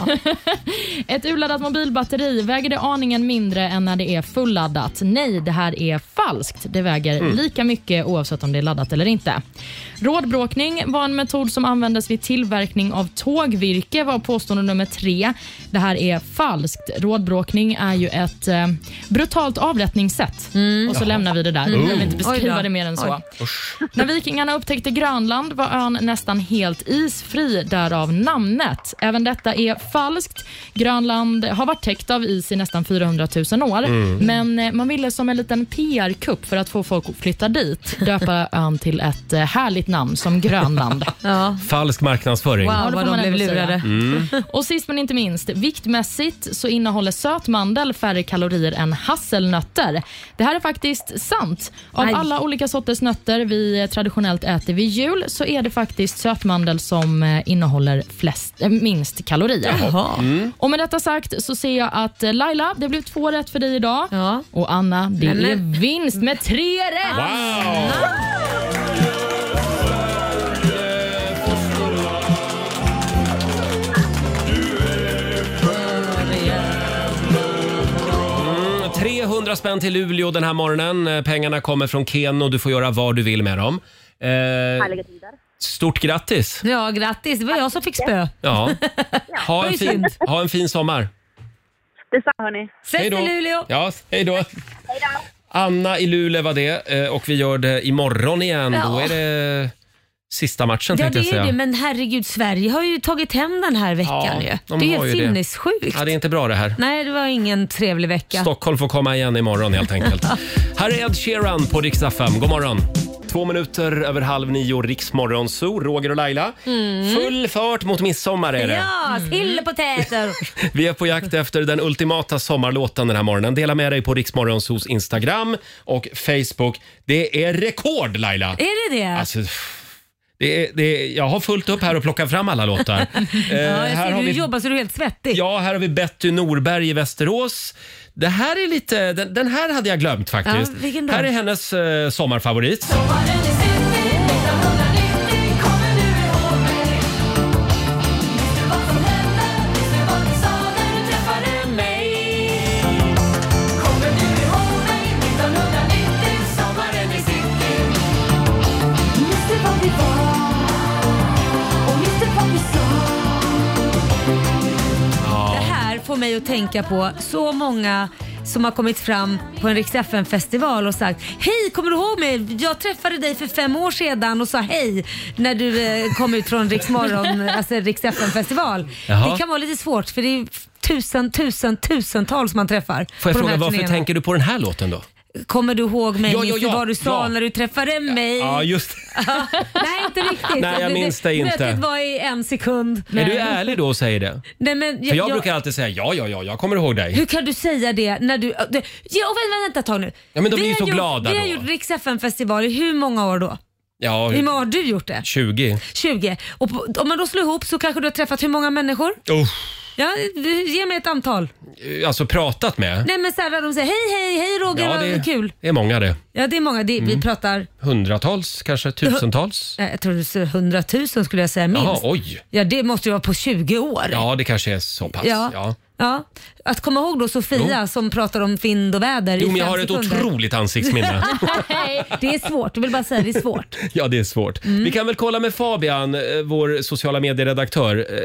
C: Ett urladdat mobilbatteri väger det aningen mindre än när det är fulladdat. Nej, det här är falskt. Det väger
B: Mm.
C: lika mycket oavsett oavsett om det är laddat eller inte. Rådbråkning var en metod som användes vid tillverkning av tågvirke var påstående nummer tre. Det här är falskt. Rådbråkning är ju ett eh, brutalt avrättningssätt. Och så
R: Jaha.
C: lämnar vi det där. Vi
R: Mm.
C: behöver inte
R: Oj då.
C: beskriva det mer än så.
R: Oj. Usch.
C: När vikingarna upptäckte Grönland var ön nästan helt isfri, därav namnet. Även detta är falskt. Grönland har varit täckt av is i nästan 400 000 år,
R: Mm.
C: men eh, man ville som en liten PR-kupp för att få folk att flytta dit, döpa ön till ett eh, härligt namn som Grönland.
B: ja.
A: Falsk marknadsföring.
C: Wow, Ja, det vad får de man blev ändå säga. lurade.
A: Mm.
C: Och sist men inte minst, viktmässigt så innehåller sötmandel färre kalorier än hasselnötter. Det här är faktiskt sant. Av
R: Aj.
C: alla olika sorters nötter vi eh, traditionellt äter vid jul så är det faktiskt sötmandel som eh, innehåller flest, eh, minst kalorier.
R: Jaha. Mm.
C: Och med detta sagt så ser jag att eh, Laila, det blev två rätt för dig idag. Och Anna, det
R: Men-
C: är vinst med tre rätt.
A: Mm, 300 spänn till Luleå den här morgonen. Eh, Pengarna kommer från Ken och du får göra vad du vill med dem. Eh,
B: Härliga
A: stort grattis!
B: Ja, grattis. Det var jag som fick spö.
A: Ja. Ha,
B: var
A: en
B: ju
A: fin,
B: synd.
A: ha en fin sommar.
G: Detsamma hörni.
A: Hej då. Ja, hej då. Anna i Luleå var det eh, och vi gör det imorgon igen. Då
B: Ja.
A: är det sista matchen
B: Ja,
A: tänkte jag
B: det är
A: säga.
B: ju det. Men herregud, Sverige har ju tagit hem den här veckan ju.
A: de
B: Det är
A: har
B: helt
A: ju det. Alltså-
B: sinnessjukt.
A: Ja, det är inte bra det här.
B: Nej, det var ingen trevlig vecka.
A: Stockholm får komma igen imorgon helt enkelt. här är Ed Sheeran på riksdag 5. God morgon! Två minuter över halv nio, Riksmorgon Zoo, Roger och Laila.
B: Mm.
A: Full fart mot midsommar är det. Mm.
B: Ja, sill och potäter.
A: Vi är på jakt efter den ultimata sommarlåten den här morgonen. Dela med dig på Riksmorgon Zoos Instagram och Facebook. Det är rekord Laila!
B: Är det det?
A: Alltså, det är, det är, jag har fullt upp här och plockat fram alla låtar. Eh,
B: ja, jag
A: här
B: ser
A: har
B: du
A: vi-
B: jobbar så du är helt svettig.
A: Ja, här har vi Betty Norberg i Västerås. Det här är lite, den, den här hade jag glömt faktiskt.
B: Ja, vilken då?
A: här är hennes eh, sommarfavorit.
B: Det här får mig att tänka på så många som har kommit fram på en Rix festival och sagt Hej, kommer du ihåg mig? Jag träffade dig för fem år sedan och sa hej när du eh, kom ut från Rix Morgon, alltså Rix festival
A: Jaha.
B: Det kan vara lite svårt för det är tusen, tusen, tusentals man träffar.
A: Får jag
B: på de
A: fråga
B: här
A: varför
B: turnéerna.
A: tänker du på den här låten då?
B: Kommer du ihåg mig?
A: Ja, ja,
B: Minns du
A: ja,
B: vad du sa
A: ja.
B: när du träffade mig?
A: Ja, just
B: Nej, inte riktigt. Alltså,
A: Nej, jag minns det inte.
B: Mötet var i en sekund.
A: Är du ärlig då och säger det?
B: Nej, men
A: För jag brukar alltid säga ja, ja, ja, jag kommer ihåg dig.
B: Hur kan du säga det när du... det- Ja, och vänta, vänta ett tag nu.
A: Ja, men de
B: vi
A: blir ju
B: har
A: så
B: gjort,
A: glada
B: Vi har
A: då.
B: gjort Rix festival i hur många år då?
A: Ja,
B: Hur många har du gjort det?
A: 20.
B: 20. Och på, om man då slår ihop så kanske du har träffat hur många människor?
A: Oh,
B: Ja, ge mig ett antal.
A: alltså pratat med?
B: Nej men såhär de säger hej, hej, hej Roger,
A: ja,
B: vad
A: det,
B: kul.
A: det är många det.
B: Ja, det är många. Det, Vi
A: Mm.
B: pratar...
A: Hundratals, kanske tusentals.
B: Nej, Jag tror du sa 100 000 skulle jag säga minst.
A: Jaha, oj.
B: Ja, det måste ju vara på 20 år.
A: Ja, det kanske är så pass.
B: Ja.
A: Ja.
B: Ja. Att komma ihåg då Sofia som pratar om vind och väder
A: Jo,
B: i
A: men jag
B: fem
A: har ett
B: sekunder.
A: otroligt ansiktsminne.
B: Nej, det är svårt. Jag vill bara säga det är svårt.
A: Ja, det är svårt. Vi kan väl kolla med Fabian, eh, vår sociala medieredaktör. Eh,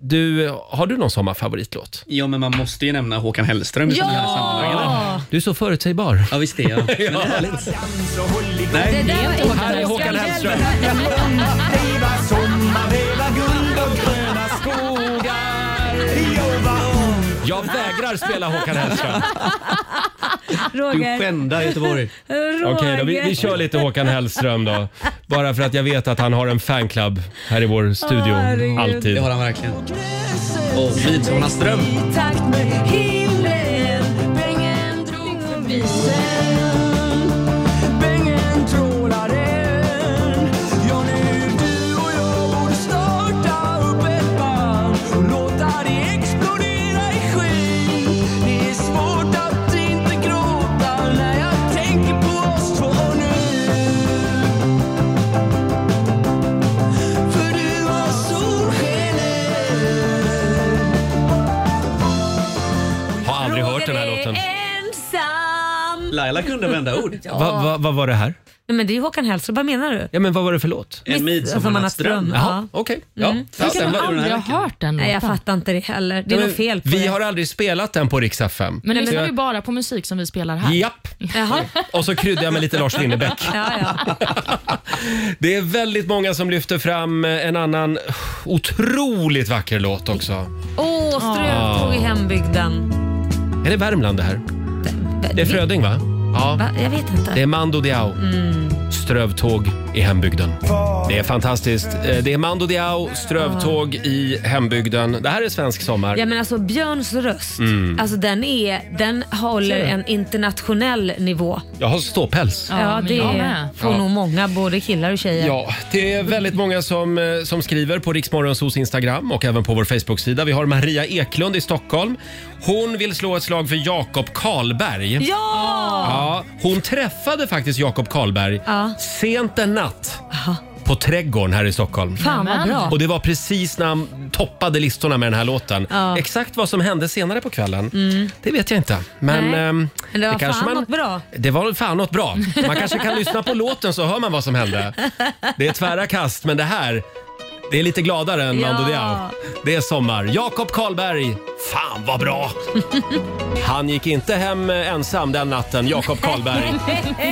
A: Du, har du någon sommarfavoritlåt?
I: Ja, men man måste ju nämna Håkan Hellström i sådana här sammanhang. eller?
A: Ah, Du är så förutsägbar.
I: Ja, visst är jag.
R: Nej,
I: Det
R: det
I: där
R: är
I: var
R: inte
I: inte
R: Här är Håkan Hellström. Leva sommar, leva guld och gröna skogar. Jobba om.
A: Jag vägrar spela Håkan Hellström.
B: Roger.
I: skändar Göteborg.
B: Roger.
A: Okej då, vi, vi kör lite Håkan Hellström då. Bara för att jag vet att han har en fanclub här i vår studio.
B: Åh, herregud.
A: Alltid.
B: Det har
I: han verkligen. Och Midsommarnattström.
B: Tack med himlen, pengen drog förbi sen.
R: Pengen trålar än. Ja, nu du och jag borde starta upp ett band och låta det explodera i skyn. Det är svårt att inte gråta när jag tänker på oss två nu. För du var solskenet
I: Laila kunde vända ord.
B: Ja. Va- va-
A: vad var det här?
B: Nej, men det är ju Håkan Hellström, vad menar du?
A: Ja, men vad var det för låt?
I: En midsommarnattsdröm.
A: Jaha, okej. Ja. Ja, den var-
C: hört den
B: Nej, jag
C: låten.
B: fattar inte det heller. Det är
A: Men
B: nog fel på
A: Vi
B: det.
A: har aldrig spelat den på Rix FM.
C: Men
A: Så
C: lyssnar
A: jag-
C: vi bara på musik som vi spelar här?
A: Japp.
B: Jaha.
A: Och så kryddar jag med lite Lars Winnerbäck.
B: Ja, ja.
A: Det är väldigt många som lyfter fram en annan otroligt vacker låt också.
B: Åh,
A: Ah.
B: strövtåg i hembygden.
A: Är det Värmland det här? Det är Fröding va? Ja.
B: Va? Mm. Jag vet inte.
A: Det är Mando Diao. Strövtåg i hembygden. Det är fantastiskt. Eh, Det är Mando Diao, strövtåg i hembygden. Det här är svensk sommar.
B: Ja men alltså Björns röst,
A: Mm.
B: alltså den, är, den håller en internationell nivå.
A: Jag har ståpäls.
B: Ja, det får
A: Ja.
B: nog många, både killar och tjejer.
A: Ja, det är väldigt många som, eh, som skriver på Riksmorgonsos Instagram och även på vår Facebook-sida. Vi har Maria Eklund i Stockholm. Hon vill slå ett slag för Jakob Karlberg.
B: Ja!
A: ja hon träffade faktiskt Jakob Karlberg
B: Ja.
A: sent en natt på Trädgården här i Stockholm.
B: Fan, vad bra.
A: Och det var precis när han toppade listorna med den här låten.
B: Ja.
A: Exakt vad som hände senare på kvällen,
B: Mm.
A: det vet jag inte. Men,
B: Nej.
A: ehm,
B: Men det var
A: kanske
B: fan något bra.
A: Det var fan något bra. Man kanske kan lyssna på låten så hör man vad som hände. Det är tvära kast, men det här det är lite gladare än
R: Ja.
A: Mando Diao. Det är sommar. Jakob Karlberg, fan vad bra! Han gick inte hem eh, ensam den natten, Jakob Karlberg.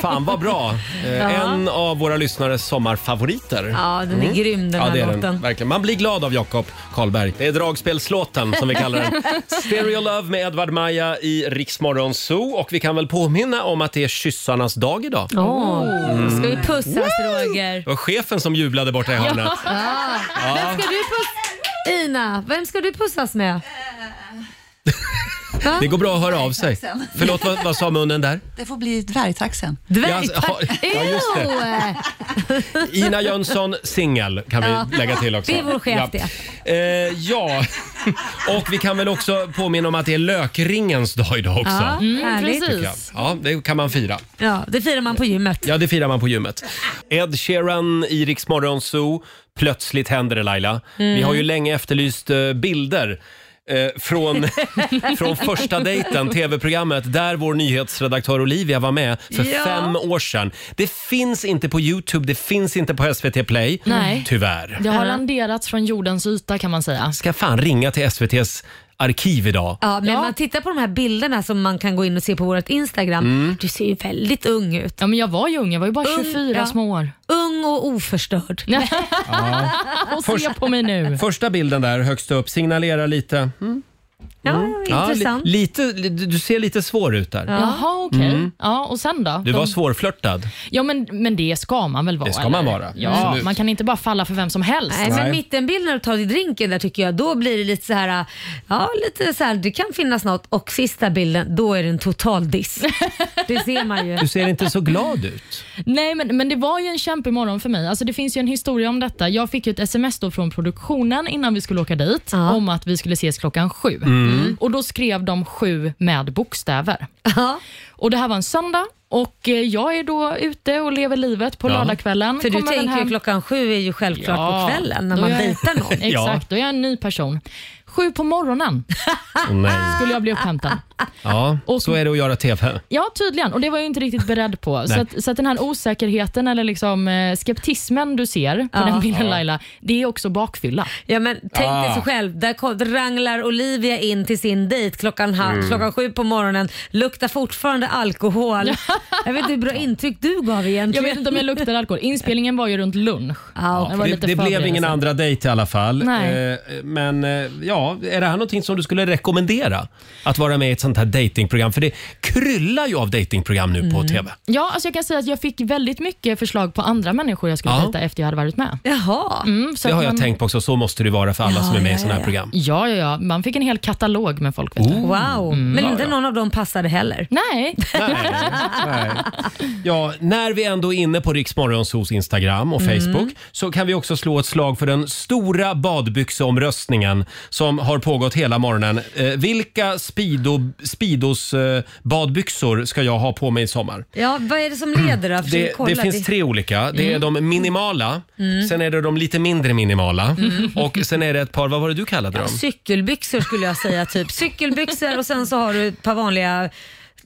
A: Fan vad bra! Eh,
B: Ja.
A: En av våra lyssnares sommarfavoriter.
B: Ja, den är grym, den
A: Mm. ja,
B: här
A: det är Den.
B: låten.
A: Verkligen. Man blir glad av Jakob Karlberg. Det är dragspelslåten som vi kallar den. Stereo Love med Edvard Maja i Riksmorgon Zoo. Och vi kan väl påminna om att det är kyssarnas dag idag.
B: Åh,
A: Mm.
B: Ska vi pussas Roger?
A: Det var chefen som jublade borta i hörnet.
B: Ja.
A: Ja.
B: Vem ska du puss- Ina, vem ska du pussas med? Va?
A: Det går bra att höra av sig.
S: Tack.
A: Förlåt, vad, vad sa munnen där?
S: Det får bli dvärgtaxen.
A: Dvärgtax- alltså, Ja, ja, just det. Ina Jönsson, singel, kan vi
S: Ja.
A: lägga till också.
S: Det är vår chef
A: ja. Eh, ja, och vi kan väl också påminna om att det är lökringens dag idag också.
B: Ja, mm, härligt.
A: tycker jag. Ja, det kan man fira.
B: Ja, det firar man på gymmet.
A: Ja, det firar man på gymmet. Ed Sheeran i Rix Morgon Zoo. Plötsligt händer det Laila.
B: Mm.
A: Vi har ju länge efterlyst eh, bilder eh, från, från första dejten, tv-programmet där vår nyhetsredaktör Olivia var med för
R: Ja.
A: fem år sedan. Det finns inte på Youtube, det finns inte på SVT Play.
C: Nej.
A: Tyvärr.
C: Det har landerats från jordens yta kan man säga.
A: Ska fan ringa till SVTs arkiv idag.
B: Ja, men man tittar på de här bilderna som man kan gå in och se på vårt Instagram.
A: Mm.
B: Du ser ju väldigt ung ut.
C: Ja, men jag var ju ung. Jag var ju bara 24 små år.
B: Ung och oförstörd.
A: Ja.
C: Och se på mig nu.
A: Första bilden där högst upp signalerar lite... Mm.
C: Ja,
A: li- lite, li- du ser lite svår ut där.
C: Jaha, okej.
A: Mm.
C: Ja, och sen då?
A: Du var
C: De-
A: svårflörtad.
C: Ja, men, men det ska man väl vara?
A: Det ska man
C: eller?
A: vara,
C: Ja,
A: absolut.
C: Man kan inte bara falla för vem som helst.
B: Nej, men mittenbilden när du tar din drinken där tycker jag, då blir det lite så här, ja lite så här, det kan finnas något. Och sista bilden, då är det en total diss. Det ser man ju.
A: Du ser inte så glad ut.
C: Nej, men, men det var ju en kämpig morgon för mig. Alltså, det finns ju en historia om detta. Jag fick ju ett sms då från produktionen innan vi skulle åka dit om att vi skulle ses klockan sju.
R: Mm.
C: Och Då skrev de sju med bokstäver. Och Det här var en söndag och eh, jag är då ute och lever livet på
B: Ja.
C: lördagskvällen.
B: För du
C: Kommer väl
B: tänker ju
C: hem-
B: klockan sju är ju självklart på kvällen när
C: då
B: man
C: är jag-
B: dejtar någon.
C: Exakt, då är jag en ny person. Sju på morgonen
A: Åh, nej.
C: skulle jag bli upphämtad.
A: Ja, så är det att göra TV.
C: ah. Ja, tydligen. Och det var jag ju inte riktigt beredd på.
A: Nej.
C: så, att, så att den här osäkerheten eller liksom eh, skeptismen du ser på
B: Ja.
C: den bilden
B: Ja.
C: Laila, det är också bakfylla.
B: Ja, men tänk dig
C: Ah.
B: så själv, där kom- ranglar Olivia in till sin dejt klockan, halv,
C: Mm.
B: klockan sju på morgonen, luktar fortfarande alkohol. jag vet inte hur bra intryck du gav
C: Jag
B: egentligen.
C: vet inte om jag luktar alkohol. Inspelningen var ju runt lunch.
A: Ja, det det blev ingen andra dejt i alla fall.
C: Nej.
A: Eh, Men eh, ja, är det här någonting som du skulle rekommendera? Att vara med i ett sånt här datingprogram? För det kryllar ju av datingprogram nu på TV.
C: Ja, alltså jag kan säga att jag fick väldigt mycket förslag på andra människor jag skulle
A: Ja.
C: dejta efter jag hade varit med.
B: Jaha.
C: Mm, så
A: det
C: att
A: har jag
C: man-
A: tänkt på också. Så måste det vara för alla
C: Ja,
A: som är med
C: ja,
A: i såna här
C: ja.
A: program.
C: Ja, ja, ja. Man fick en hel katalog med folk. Vet du.
A: Oh.
B: Wow,
C: Mm.
B: men
A: Ja,
B: inte
A: ja.
B: någon av dem passade heller.
C: Nej.
A: Nej. Ja, när vi ändå är inne på Riksmorgonsos Instagram och
B: Mm.
A: Facebook så kan vi också slå ett slag för den stora badbyxeomröstningen som har pågått hela morgonen. Eh, vilka Speedo, Speedos eh, badbyxor ska jag ha på mig i sommar?
B: Ja, vad är det som leder då? Försöker
A: Det,
B: kolla
A: det finns tre olika. Det är de minimala,
B: Mm.
A: sen är det de lite mindre minimala
B: Mm.
A: och sen är det ett par, vad var det du kallade dem?
B: Cykelbyxor skulle jag säga, typ. Cykelbyxor och sen så har du ett par vanliga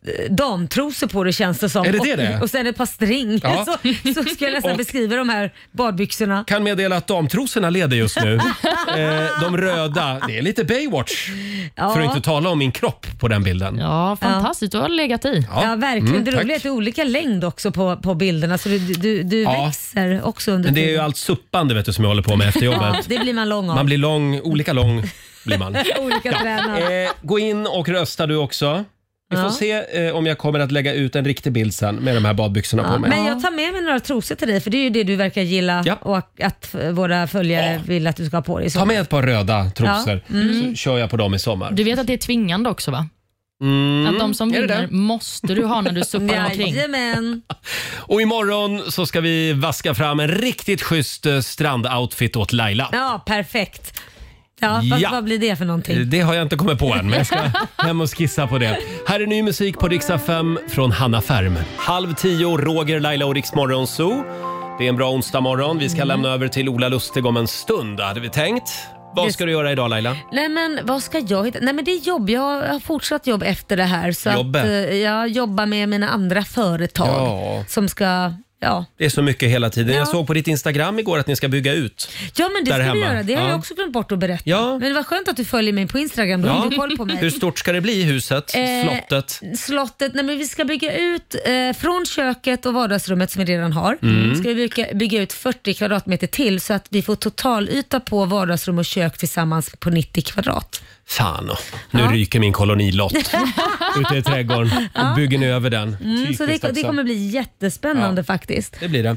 B: eh, damtrosor på dig känns det som.
A: Är det
B: och,
A: det det är?
B: och sen ett par string.
A: Ja.
B: Så, så ska jag nästan
A: Och-
B: beskriva de här badbyxorna.
A: Kan meddela att damtrosorna leder just nu. Eh, de röda, det är lite Baywatch.
B: Ja.
A: För att inte tala om min kropp på den bilden.
C: Ja, fantastiskt. Du har legat i.
B: Ja, verkligen.
A: Mm,
B: det
A: tack.
B: roliga är att det är olika längd också på, på bilderna så du, du, du
A: Ja.
B: växer också under
A: Men det är ju
B: tiden.
A: allt suppande vet du, som jag håller på med efter jobbet.
B: Ja, det blir man lång av.
A: Man blir lång, olika lång blir man.
B: Olika tränare.
A: Eh, gå in och rösta du också. Vi får
B: Ja.
A: se eh, om jag kommer att lägga ut en riktig bild sen med de här badbyxorna
B: Ja,
A: på mig.
B: men jag tar med mig några trosor till dig för det är ju det du verkar gilla och att eh, våra följare vill att du ska ha på dig.
A: Ta med ett par röda trosor
B: Ja. Mm.
A: så kör jag på dem i sommar.
C: Du vet att det är tvingande också va?
A: Mm.
C: Att de som
A: Är det
C: vinner
A: det?
C: måste du ha när du suppar omkring.
B: Jajamän.
A: Och imorgon så ska vi vaska fram en riktigt schysst eh, strandoutfit åt Laila.
B: Ja, perfekt. Ja, fast
A: Ja.
B: vad blir det för
A: Eh,
B: någonting?
A: Det har jag inte kommit på än, men jag ska hem och skissa på det. Här är ny musik på Riksa 5 från Hanna Färm. Halv tio, Roger, Laila och Riksmorgon Zoo. Det är en bra onsdag morgon. Vi ska
B: Mm.
A: lämna över till Ola Lustig om en stund, hade vi tänkt. Vad ska du göra idag Laila?
B: Nej men vad ska jag hitta? Nej men det är jobb. Jag har jag har fortsatt jobb efter det här. Så
A: Jobbet.
B: Att, eh, jag jobbar med mina andra företag
A: Ja.
B: som ska, ja.
A: Det är så mycket hela tiden. Jag såg på ditt Instagram igår att ni ska bygga ut.
B: Ja men det
A: Där
B: ska du
A: hemma.
B: göra. Det har
A: Ja.
B: jag också glömt bort att berätta.
A: Ja.
B: Men det var skönt att du följer mig på Instagram. Då har du koll på mig.
A: Hur stort ska det bli i huset?
B: Eh,
A: Slottet?
B: Slottet, nej men vi ska bygga ut eh, från köket och vardagsrummet som vi redan har.
A: Mm.
B: Ska vi bygga, bygga ut 40 kvadratmeter till så att vi får totalyta på vardagsrum och kök tillsammans på 90 kvadrat.
A: Fan, nu ryker min kolonilott ute i trädgården och bygger ni över den.
B: Mm, så det,
A: Typiskt
B: det
A: också.
B: kommer bli jättespännande faktiskt.
A: Det blir det.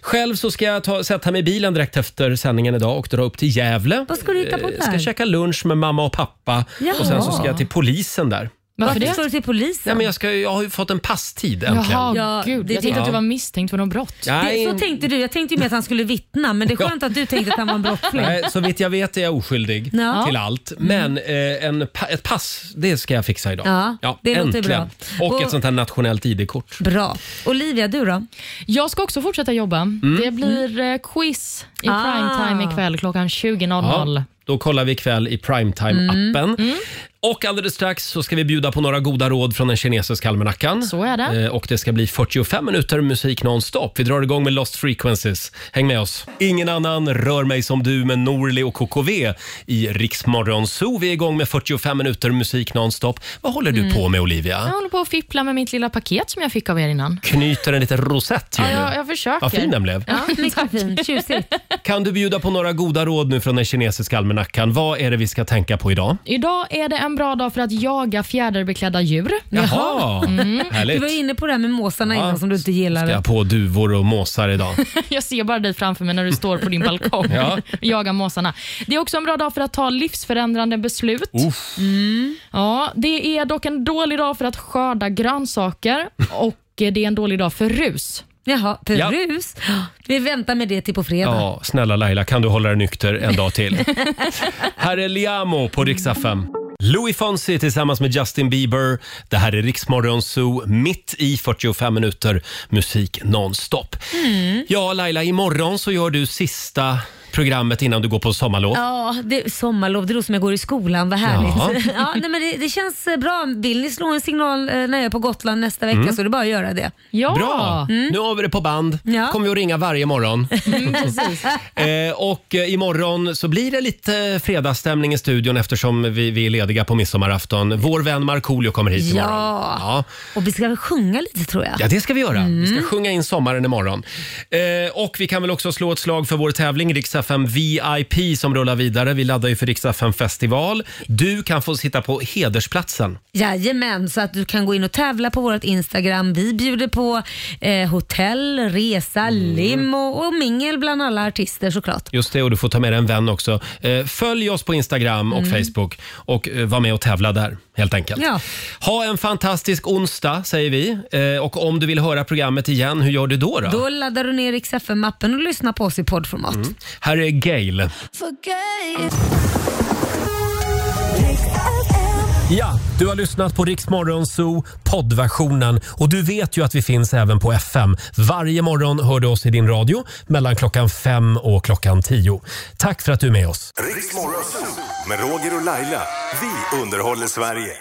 A: Själv så ska jag ta, sätta mig i bilen direkt efter sändningen idag och dra upp till Gävle. Vad
B: ska du hitta på där?
A: Ska käka lunch med mamma och pappa
B: Jaha.
A: och sen så ska jag till polisen där.
B: Varför ska du till polisen?
A: Nej, men jag, ska, jag har ju fått en passtid äntligen.
C: Jaha,
B: Ja,
C: gud.
B: det-
C: Jag tänkte att du
A: Ja.
C: var misstänkt för något brott.
A: Nej.
B: Det, så tänkte du. Jag tänkte ju med att han skulle vittna men det är skönt att du tänkte att han var en brottsling.
A: Nej, så vitt jag vet är jag oskyldig
B: Ja. Mm.
A: till allt. Men eh, en, pa- ett pass, det ska jag fixa idag.
B: Ja, det låter
A: äntligen.
B: bra.
A: Och,
B: Och-
A: ett sånt här nationellt ID-kort.
B: Bra. Olivia, du då?
C: Jag ska också fortsätta jobba.
A: Mm.
C: Det blir eh, quiz i
B: Mm. Ah.
C: primetime ikväll klockan 20.00.
A: Ja, då kollar vi ikväll i
C: Mm.
A: primetime-appen. Och alldeles strax så ska vi bjuda på några goda råd från den kinesiska almanackan.
C: Så är det.
A: Eh, Och det ska bli 45 minuter musik nonstop. Vi drar igång med Lost Frequencies. Häng med oss. Ingen annan rör mig som du med Norli och KKV i Riksmorgon Zoo. Vi är igång med 45 minuter musik nonstop. Vad håller du
C: Mm.
A: på med Olivia?
C: Jag håller på att fippla med mitt lilla paket som jag fick av er innan.
A: Knyter en liten rosett gör
C: Ja,
A: du.
C: jag, jag försöker.
A: Vad fin den blev.
C: Ja,
B: mycket fin. Tjusigt.
A: Kan du bjuda på några goda råd nu från den kinesiska almanackan? Vad är det vi ska tänka på idag?
C: Idag är det en bra dag för att jaga fjäderbeklädda djur.
A: Jaha,
B: Du
A: härligt.
B: var ju inne på Mm. det här med måsarna
A: Ja.
B: innan som du inte
A: Ska
B: gillade.
A: jag på duvor och måsar idag?
C: Jag ser bara dig framför mig när du står på din balkong
A: Ja.
C: och jagar måsarna. Det är också en bra dag för att ta livsförändrande beslut.
A: Uff.
C: Ja, det är dock en dålig dag för att skörda grönsaker och eh, det är en dålig dag för rus.
B: Jaha, för
A: Ja.
B: rus? Vi väntar med det till på fredag.
A: Ja, snälla Laila, kan du hålla dig nykter en dag till? här är Liamo på Rix FM. Louis Fonsi tillsammans med Justin Bieber. Det här är Riksmorgon Zoo, mitt i 45 minuter musik nonstop.
B: Mm.
A: Ja, Laila, imorgon så gör du sista programmet innan du går på sommarlov.
B: Ja, det, sommarlov, det låter som jag går i skolan, vad härligt.
A: Ja.
B: Ja. nej, men det, det känns eh, bra. Vill ni slå en signal eh, när jag är på Gotland nästa vecka
A: Mm.
B: så är det bara att göra det.
A: Bra! Nu har vi det på band.
B: Mm. Ja.
A: kommer vi att ringa varje morgon. Eh, och eh, imorgon så blir det lite fredagsstämning i studion eftersom vi, vi är lediga på midsommarafton. Vår vän Markoolio kommer hit
B: Ja.
A: imorgon. Ja.
B: Och vi ska väl sjunga lite tror jag.
A: Ja, det ska vi göra. Vi ska sjunga in sommaren imorgon. Eh, och vi kan väl också slå ett slag för vår tävling Riksdag 5 VIP som rullar vidare. Vi laddar ju för Riksdag 5 festival. Du kan få sitta på hedersplatsen.
B: Jajamän, så att du kan gå in och tävla på vårt Instagram. Vi bjuder på eh, hotell, resa, limo och mingel bland alla artister såklart.
A: Just det, och du får ta med dig en vän också. Eh, följ oss på Instagram och
B: Mm.
A: Facebook och eh, var med och tävla där helt enkelt.
B: Ja.
A: Ha en fantastisk onsdag säger vi. Eh, och om du vill höra programmet igen, hur gör du då? då?
B: Då laddar du ner Rix FM-appen och lyssnar på oss i poddformat.
A: Mm. Här är Gail. Ja, du har lyssnat på Rix Morgon Zoo poddversionen och du vet ju att vi finns även på FM. Varje morgon hör du oss i din radio mellan klockan fem och klockan tio. Tack för att du är med oss.
F: Riksmorgon med Roger och Laila. Vi underhåller Sverige.